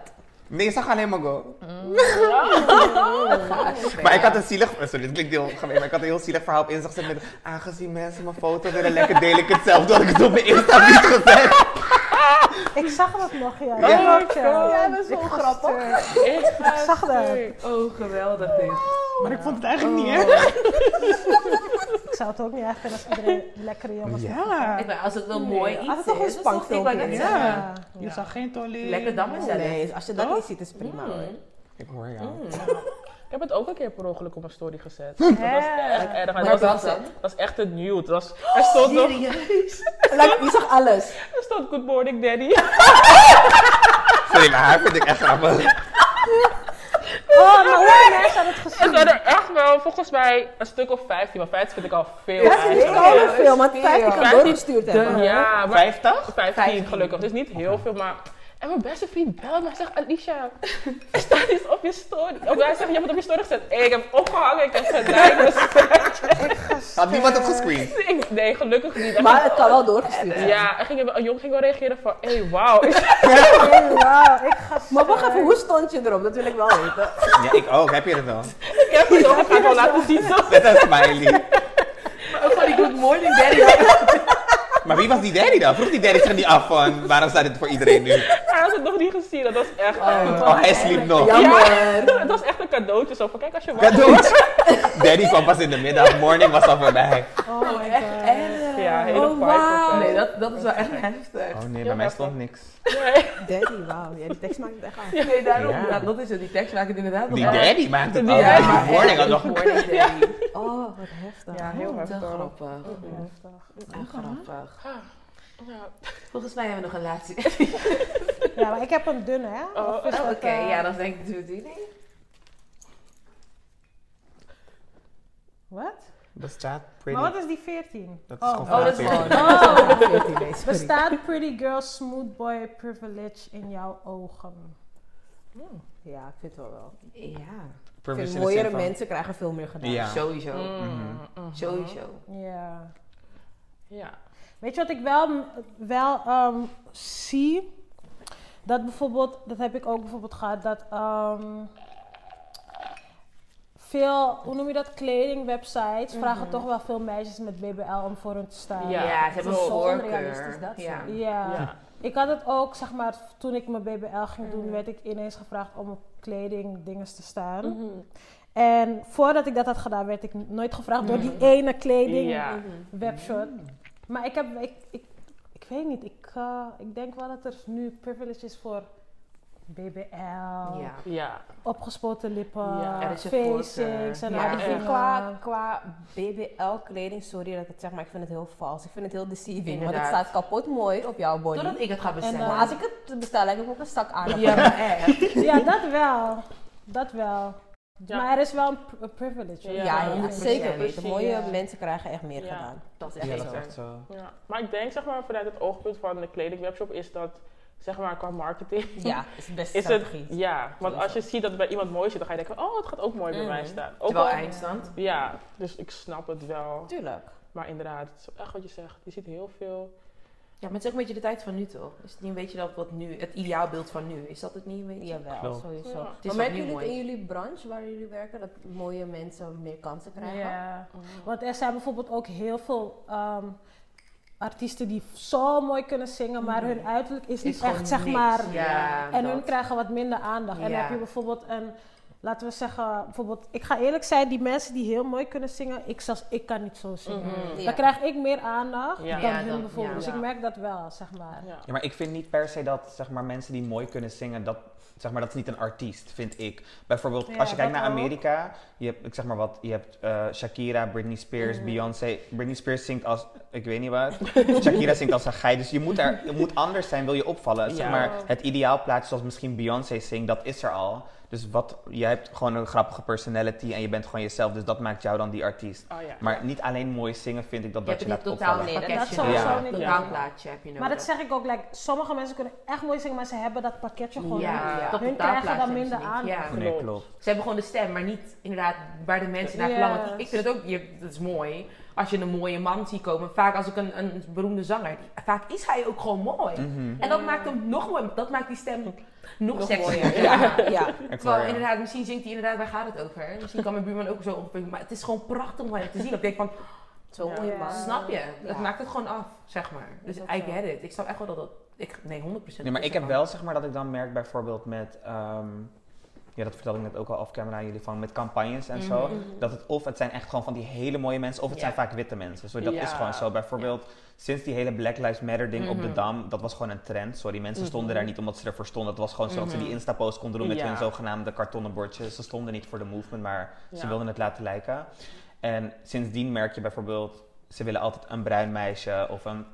S3: Nee, ik zag alleen maar go.
S4: Ja.
S3: Maar ik had een zielig... Sorry, dit klinkt heel gemeen, maar ik had een heel zielig verhaal op Insta gezet met... Aangezien mensen mijn foto willen lekker, deel ik het zelf, dat ik het op mijn Insta heb niet gezet.
S2: Ik zag dat nog, ja.
S3: Ja.
S2: Ik hoor het, ja.
S1: Ja,
S6: dat is zo grappig.
S1: Ik
S2: zag dat.
S4: Oh, geweldig dit.
S3: Maar ik vond het eigenlijk niet erg.
S2: Ik zou het ook niet echt vinden als iedereen lekkere jongens
S3: Ja.
S4: Ik ben, als het wel mooi iets
S6: als het toch een
S4: is, dan
S6: spankfilmpje
S4: ik wou net
S6: is.
S4: zeggen,
S3: Ja. Je zag geen tolie.
S4: Lekker dan mezelf.
S6: Nee, als je dat niet ziet, is prima
S4: Hmm.
S6: hoor.
S3: Ik hoor jou.
S1: heb het ook een keer per ongeluk op mijn story gezet. Dat was echt erg. Maar
S4: Wat
S1: dat
S4: was
S1: was-
S4: het?
S1: Dat was echt het nude. Dat was, er, stond nog,
S6: Like, je zag alles.
S1: er stond Good Morning Daddy.
S3: Sorry, maar haar vind ik echt grappig.
S2: Oh, maar hoeveel mensen hadden het
S1: Er
S2: gezien?
S1: zijn er echt wel, volgens mij, een stuk of 15. Maar 15 vind ik al veel
S6: Ja, ze is
S1: eigenlijk.
S6: al een film, want
S4: Ja.
S6: 50 kan doorgestuurd hebben.
S1: Ja, maar
S3: 50?
S1: 15 gelukkig. Dus niet heel veel, maar... En mijn beste vriend belt mij en zegt, Alicia, er staat iets op je story. Of hij zegt, je hebt het op je story gezet. Hey, ik heb opgehangen, ik heb gelijk. Dus,
S3: Had niemand het gescreend?
S1: ik- nee, gelukkig niet. En
S6: Maar het kan wel doorgestuurd zijn.
S1: Ja, en ging, een jongen ging wel reageren van, hé, hey, wauw. Ik-
S2: Oh, wauw, ik ga
S6: Maar wacht even, hoe stond je erop? Dat wil ik wel weten.
S3: Ja, ik ook. Heb je het dan?
S1: Ik heb het ook, ik ga het wel laten zien. Zo.
S3: Met een smiley.
S4: Ook van die Oh, Good Morning Daddy.
S3: Maar wie was die daddy dan? Vroeg die daddy zich niet af van, waarom staat dit voor iedereen nu?
S1: Hij had het nog niet gezien, dat was echt...
S3: Oh, hij sliep nog.
S6: Jammer.
S1: Het was echt een cadeautje zo van, kijk als je wacht.
S3: Cadeautje. Daddy kwam pas in de middag, morning was al voorbij.
S2: Oh my
S4: Echt
S2: god.
S4: erg.
S1: Ja, hele
S6: Oh,
S1: vibe
S6: wauw.
S1: op, hè.
S4: Nee, dat, dat is wel echt heftig.
S3: Oh nee, bij mij stond niks.
S1: Nee.
S6: Daddy, wauw. Ja, die tekst maakt het echt aan.
S4: Nee, daarom.
S3: Ja.
S4: Nou, dat is het. Die tekst maakt het inderdaad
S3: Die
S4: nog erg.
S3: daddy maakt het
S1: Die-
S3: al.
S1: Ja,
S3: Die
S1: maar-
S3: morning had nog
S4: Good Morning Daddy.
S6: Oh, wat heftig.
S1: Ja, heel
S4: Oh, Te
S1: heftig.
S4: grappig. Te grappig.
S1: Ja.
S4: Volgens mij hebben we nog een laatste.
S2: Ja, maar ik heb een dunne, hè?
S1: Oh,
S2: Of is
S4: Oké,
S2: dat, eh,
S4: ja, dat is denk ik natuurlijk die ding.
S2: Wat?
S3: Bestaat
S2: Maar wat
S3: pretty.
S2: is die 14?
S3: Dat is gewoon
S4: Oh, dat is
S3: Later.
S4: mooi.
S2: Oh,
S6: Sorry.
S2: bestaat pretty girl smooth boy privilege in jouw ogen?
S6: Ja, ik vind het wel wel.
S4: Ja,
S6: Ik
S3: privilege
S6: vind
S3: in de
S6: mooiere
S3: zin van-
S6: mensen krijgen veel meer gedaan.
S3: Ja.
S4: sowieso.
S1: Mm, mm.
S4: Sowieso.
S2: Ja.
S1: Ja.
S2: Weet je wat ik wel, wel ehm, zie? Dat bijvoorbeeld, dat heb ik ook bijvoorbeeld gehad, dat ehm, veel, hoe noem je dat, kledingwebsites vragen toch wel veel meisjes met BBL om voor hun te staan.
S1: Ja.
S4: Ja, ze hebben een
S2: Zo
S4: voorkeur.
S6: onrealistisch dat ze.
S4: Ja.
S2: Ja.
S1: Ja.
S2: Ik had het ook, zeg maar, toen ik mijn BBL ging doen, werd ik ineens gevraagd om op kleding dingen te staan.
S4: Mhm.
S2: En voordat ik dat had gedaan, werd ik nooit gevraagd door die ene kleding
S1: Ja.
S2: webshop. Maar ik heb, ik, ik, ik weet niet, ik, eh, ik denk wel dat er nu privilege is voor BBL,
S4: Ja.
S1: Ja.
S2: opgespoten lippen,
S1: Ja, er
S4: is een
S2: facings en
S4: voorkeur.
S6: Maar
S2: al
S6: ik
S2: die
S6: vind
S2: dingen.
S6: qua, qua BBL-kleding, sorry dat ik het zeg, maar ik vind het heel vals. Ik vind het heel deceiving, want het
S4: Inderdaad.
S6: staat kapot mooi op jouw body.
S5: Totdat ik het ga
S6: en
S5: bestellen.
S6: eh, als ik het bestel, lijkt het ook een zak aan.
S4: Ja, maar echt.
S2: Ja, dat wel. Dat wel.
S1: Ja.
S2: Maar er is wel een pri- een privilege.
S1: Ja,
S6: Ja,
S1: ja,
S6: zeker
S4: precies.
S6: weten. Mooie
S2: Ja.
S6: mensen krijgen echt meer
S1: Ja.
S6: gedaan.
S4: Dat is
S3: Ja,
S4: echt
S3: dat is
S4: zo.
S3: echt zo.
S1: Ja. Maar ik denk zeg maar vanuit het oogpunt van de kledingwebshop is dat zeg maar qua marketing
S6: Ja, is de beste
S1: is het
S6: strategie.
S1: ja, want als je ziet dat het bij iemand mooi zit, dan ga je denken oh het gaat ook mooi bij mij staan. Ook
S4: Terwijl
S1: al-
S4: eindstand.
S1: ja, dus ik snap het wel.
S6: Tuurlijk.
S1: Maar inderdaad, het is echt wat je zegt. Je ziet heel veel.
S4: Ja, maar het is ook een beetje de tijd van nu toch? Is het niet een beetje dat wat nu, het ideaalbeeld van nu, is dat het niet een beetje?
S6: Jawel,
S3: Klopt.
S6: sowieso.
S1: Ja.
S4: Het is
S6: Maar
S4: wat
S6: merken
S4: nu
S6: jullie het
S4: mooi.
S6: in jullie branche waar jullie werken, dat mooie mensen meer kansen krijgen?
S2: Ja.
S4: Oh.
S2: Want er zijn bijvoorbeeld ook heel veel ehm, artiesten die zo mooi kunnen zingen, maar hun uiterlijk is niet
S4: Mhm. gewoon
S2: echt, zeg
S4: niks.
S2: maar.
S4: Ja,
S2: En
S4: dat.
S2: hun krijgen wat minder aandacht. En
S4: Ja.
S2: dan heb je bijvoorbeeld een, laten we zeggen, bijvoorbeeld, ik ga eerlijk zijn, die mensen die heel mooi kunnen zingen, ik zelfs, ik kan niet zo zingen.
S6: Ja.
S2: Dan krijg ik meer aandacht
S1: Ja.
S2: dan
S4: Mhm. Ja,
S2: hun
S4: dan-
S2: bijvoorbeeld.
S4: ja.
S2: Dus ik merk dat wel, zeg maar.
S1: Ja.
S3: Ja, maar ik vind niet per se dat zeg maar, mensen die mooi kunnen zingen, dat, zeg maar, dat is niet een artiest, vind ik. Bijvoorbeeld,
S2: Ja,
S3: als je kijkt
S2: dat
S3: naar
S2: ook.
S3: Amerika, je hebt, ik zeg maar wat, je hebt eh, Shakira, Britney Spears,
S4: Mhm.
S3: Beyoncé. Britney Spears zingt als, ik weet niet wat. Shakira zingt als een geit, dus je moet, er, je moet anders zijn, wil je opvallen. Zeg
S1: Ja.
S3: maar, het ideaal plaatje zoals misschien Beyoncé zingt, dat is er al. Dus wat, jij hebt gewoon een grappige personality en je bent gewoon jezelf, dus dat maakt jou dan die artiest.
S1: Oh ja.
S3: Maar niet alleen mooi zingen vind ik dat
S4: Je
S3: dat
S4: hebt
S3: je
S4: het
S3: laat
S4: niet totaal
S3: opvallen.
S4: nee,
S6: dat
S4: pakketje
S2: sowieso
S4: nodig.
S2: niet.
S4: Een
S1: Ja.
S4: totaalplaatje heb je nodig.
S2: Maar dat zeg ik ook, like, sommige mensen kunnen echt mooi zingen, maar ze hebben dat pakketje gewoon
S4: Ja,
S2: niet.
S4: dat
S2: Hun
S4: totaalplaatje
S2: krijgen dan
S4: hebben ze
S2: minder
S4: niet.
S2: aandacht.
S4: Ja.
S3: Nee, klopt.
S4: Ze hebben gewoon de stem, maar niet inderdaad waar de mensen naar
S2: Ja.
S4: verlangen. Want ik vind het ook, je, dat is mooi, als je een mooie man ziet komen. Vaak als ik een, een beroemde zanger, die- vaak is hij ook gewoon mooi.
S2: Mm.
S3: Mhm.
S4: En dat maakt hem nog mooier, dat maakt die stem nog, sexier. Ja.
S6: ja.
S3: Ik hoor
S4: Terwijl
S3: je.
S4: inderdaad, misschien zingt hij inderdaad, waar gaat het over? Misschien kan mijn buurman ook zo op, maar het is gewoon prachtig om hem te zien. Ik denk van,
S6: Zo
S1: Ja.
S6: mooi man.
S4: snap je?
S6: Ja.
S4: Dat maakt het gewoon af, zeg maar. Dus
S6: Is ook
S4: I
S6: zo.
S4: get it. Ik snap echt wel dat dat, ik, nee, 100%.
S3: Nee, maar ik heb
S4: ervan.
S3: wel zeg maar dat ik dan merk bijvoorbeeld met, ehm, ja dat vertelde ik net ook al off camera aan jullie van, met campagnes en zo, dat het of het zijn echt gewoon van die hele mooie mensen, of het
S4: Ja.
S3: zijn vaak witte mensen. Sorry, dat is
S1: Ja.
S3: gewoon zo. Bijvoorbeeld sinds die hele Black Lives Matter ding op de Dam, dat was gewoon een trend. Sorry, mensen stonden daar niet omdat ze ervoor stonden. Dat was gewoon zodat ze die Insta-post konden doen met
S1: Ja.
S3: hun zogenaamde kartonnen bordjes. Ze stonden niet voor de movement, maar ze
S1: Ja.
S3: wilden het laten lijken. En sindsdien merk je bijvoorbeeld, ze willen altijd een bruin meisje of een,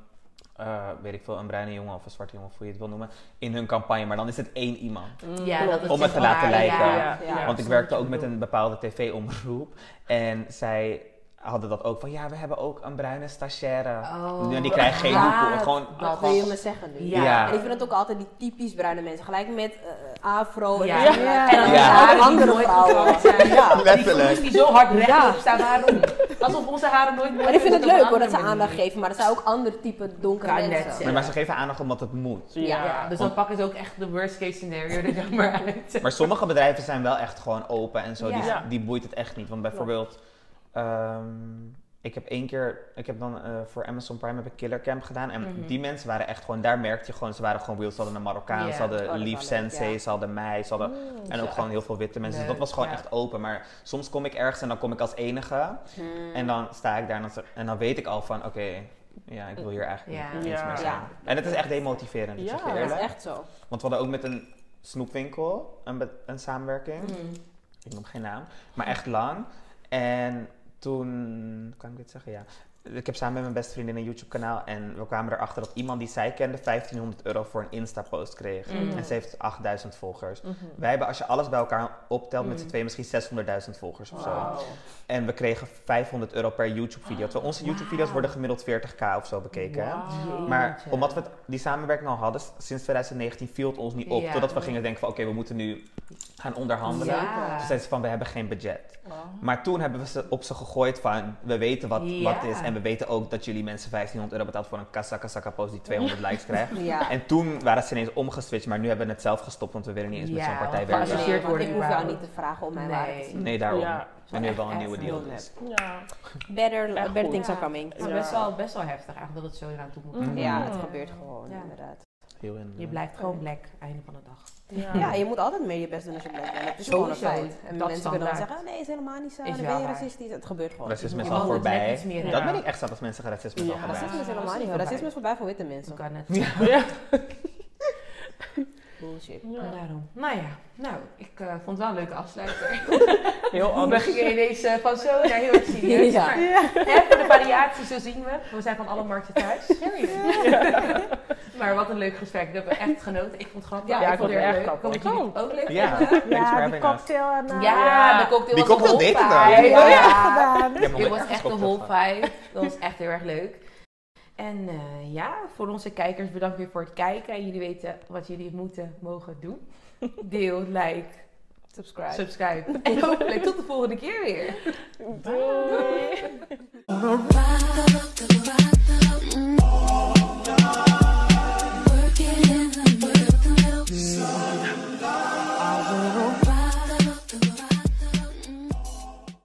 S3: eh, weet ik veel, een bruine jongen of een zwarte jongen, of hoe je het wil noemen, in hun campagne. Maar dan is het één iemand.
S1: Mm.
S4: Ja, dat
S3: Om het te laten
S4: waar,
S3: lijken.
S1: Ja, ja.
S3: Want ik
S4: snap
S3: werkte
S4: wat je
S3: ook met een bepaalde tv-omroep en zij hadden dat ook van, ja, we hebben ook een bruine stagiaire.
S4: Oh.
S3: Ja, die krijgt geen
S4: Ja,
S3: doekoe. Gewoon,
S6: Dat wil
S3: gewoon-
S6: je me zeggen nu.
S4: Ja.
S3: Ja.
S6: En ik vind het ook altijd die typisch bruine mensen. Gelijk met eh, afro en
S4: Ja.
S6: dan-
S2: Ja.
S6: en dan
S3: Ja.
S6: haren die
S4: Andere
S6: andere vrouwen.
S4: vrouwen. Ja.
S3: Letterlijk.
S4: Die zo hard
S6: Ja.
S4: rechtop staan, waarom? Alsof onze haren nooit mooi
S6: En ik vind
S4: zijn,
S6: het leuk
S4: op
S6: hoor
S4: een
S6: dat ze
S4: andere
S6: aandacht
S4: manier.
S6: geven, maar er zijn ook ander type donkere
S4: Kan net
S6: mensen.
S4: zeggen.
S3: Nee, maar ze geven aandacht omdat het moet.
S1: Ja.
S4: Ja, dus dan pakken ze ook echt de worst case scenario er dan maar uit.
S3: Maar sommige bedrijven zijn wel echt gewoon open en zo.
S1: Ja.
S3: Die, die boeit het echt niet. Want bijvoorbeeld, ehm, ik heb één keer, ik heb dan eh, voor Amazon Prime heb ik Killer Camp gedaan. En die mensen waren echt gewoon, daar merkte je gewoon, ze waren gewoon wild. Ze hadden een Marokkaan,
S4: Ja.
S3: ze
S6: Oh,
S3: hadden
S6: dat is
S3: Lief
S6: wel leuk,
S3: Sensei,
S6: ja.
S3: ze hadden mij, ze hadden, en ook gewoon heel veel witte mensen. dus
S4: Leuk,
S3: dat was gewoon
S4: ja.
S3: echt open. Maar soms kom ik ergens en dan kom ik als enige. En dan sta ik daar en dan, zeg- en dan weet ik al van, oké, ja, ik wil hier eigenlijk
S4: Ja.
S3: niet iets
S1: Ja.
S3: meer zijn.
S6: Ja.
S3: En het is echt demotiverend, ik zeg je
S1: Ja.
S6: Ja, dat
S3: eerlijk.
S6: is echt zo.
S3: Want we hadden ook met een snoepwinkel een, be- een samenwerking.
S6: Mm.
S4: Mm.
S3: Ik noem geen naam, maar echt lang. En toen, kan ik dit zeggen? Ja. Ik heb samen met mijn beste vriendin een YouTube-kanaal en we kwamen erachter dat iemand die zij kende 1500 euro voor een Insta-post kreeg.
S6: Mm.
S3: En ze heeft 8000 volgers.
S6: Mhm.
S3: Wij hebben, als je alles bij elkaar optelt, met
S6: Mm.
S3: z'n tweeën misschien 600.000 volgers of zo. En we kregen 500 euro per YouTube-video. Terwijl onze YouTube-video's worden gemiddeld 40k of zo bekeken. hè? Maar
S4: Jeetje.
S3: omdat we het- die samenwerking al hadden, s- sinds 2019 viel het ons niet op.
S4: Ja.
S3: Totdat we gingen denken van oké, we moeten nu gaan onderhandelen.
S4: Ja. Oh.
S3: Toen zeiden ze van we hebben geen budget. Maar toen hebben we ze op ze gegooid van we weten wat, wat
S4: Ja.
S3: is. En we weten ook dat jullie mensen 1500 euro betaalt voor een kasakasaka post die 200 likes krijgt.
S6: Ja.
S3: En toen waren ze ineens omgeswitcht, maar nu hebben we het zelf gestopt, want we willen niet eens met
S4: Ja,
S3: zo'n partij
S4: want
S3: werken.
S4: als je-
S6: Nee,
S4: Geassocieerd
S6: want
S4: worden
S6: ik hoef jou
S4: überhaupt.
S6: niet te vragen om mijn
S4: Nee.
S6: waarde te zien.
S3: Nee, daarom.
S1: Ja.
S3: En nu hebben we al een
S4: Echt
S3: nieuwe
S4: heel
S3: deal.
S4: nep.
S3: dus.
S1: Ja. Echt
S6: Better, better
S1: goed.
S6: things are
S1: Ja.
S6: coming.
S4: Het is
S1: Ja.
S4: Mm.
S1: Mm.
S4: best wel, best wel heftig eigenlijk dat het zo eraan toe moet.
S6: Ja, het gebeurt gewoon
S4: Ja.
S6: inderdaad.
S8: Heel in,
S4: Je
S8: eh,
S4: blijft gewoon black, einde van de dag.
S6: Ja, je moet altijd meer je best doen als je black bent. Dat is gewoon een
S4: Sowieso,
S6: feit. En
S4: dat
S6: mensen kunnen
S4: standaard.
S6: dan zeggen, "Oh, nee, is helemaal niet zo.
S4: Is
S6: Dan
S4: wel
S6: ben je
S4: waar.
S6: racistisch. Het gebeurt gewoon.
S3: eh, Racisme is
S4: Je mag
S3: al
S4: het net
S3: voorbij.
S4: iets meer
S3: Dat
S4: hebben.
S3: ben ik echt zat als mensen racisme is al
S4: Ja.
S3: voorbij.
S6: Racisme is helemaal niet.
S4: Racisme is
S6: Racisme is voorbij voor witte mensen.
S4: kan het.
S6: Bullshit.
S4: En Daarom. Nou ja, nou, ik eh, vond het wel een leuke afsluiter.
S1: Heel
S4: We
S1: anders.
S4: gingen ineens eh, van zo naar heel erg serieus.
S6: Ja.
S4: Maar, hè, voor de variatie, zo zien we. We zijn van alle markten thuis. maar wat een leuk gesprek. We hebben echt genoten. Ik vond het grappig.
S6: Ja,
S1: ik vond het
S4: weer
S1: echt
S4: leuk.
S1: grappig.
S4: Vond jullie het ook leuk?
S3: Oh. Ja, thanks for
S2: Ja, die
S3: having us.
S2: cocktail en... eh,
S4: Ja,
S1: Ja.
S4: de cocktail
S3: Die
S4: was
S3: cocktail
S4: een
S3: deed het
S4: whole
S3: wel.
S4: vibe.
S2: die heb ik
S4: Ja.
S2: echt gedaan.
S3: Je hebt me
S4: Dit
S3: ook
S4: was echt een
S3: geschopt,
S4: whole
S3: dat
S4: vibe. Dat was echt heel erg leuk. En eh, ja, voor onze kijkers bedankt weer voor het kijken. En jullie weten wat jullie moeten mogen doen. Deel, like, subscribe. subscribe. En hopelijk tot de volgende keer weer.
S1: Doei.
S5: Rock the, rock the, mm.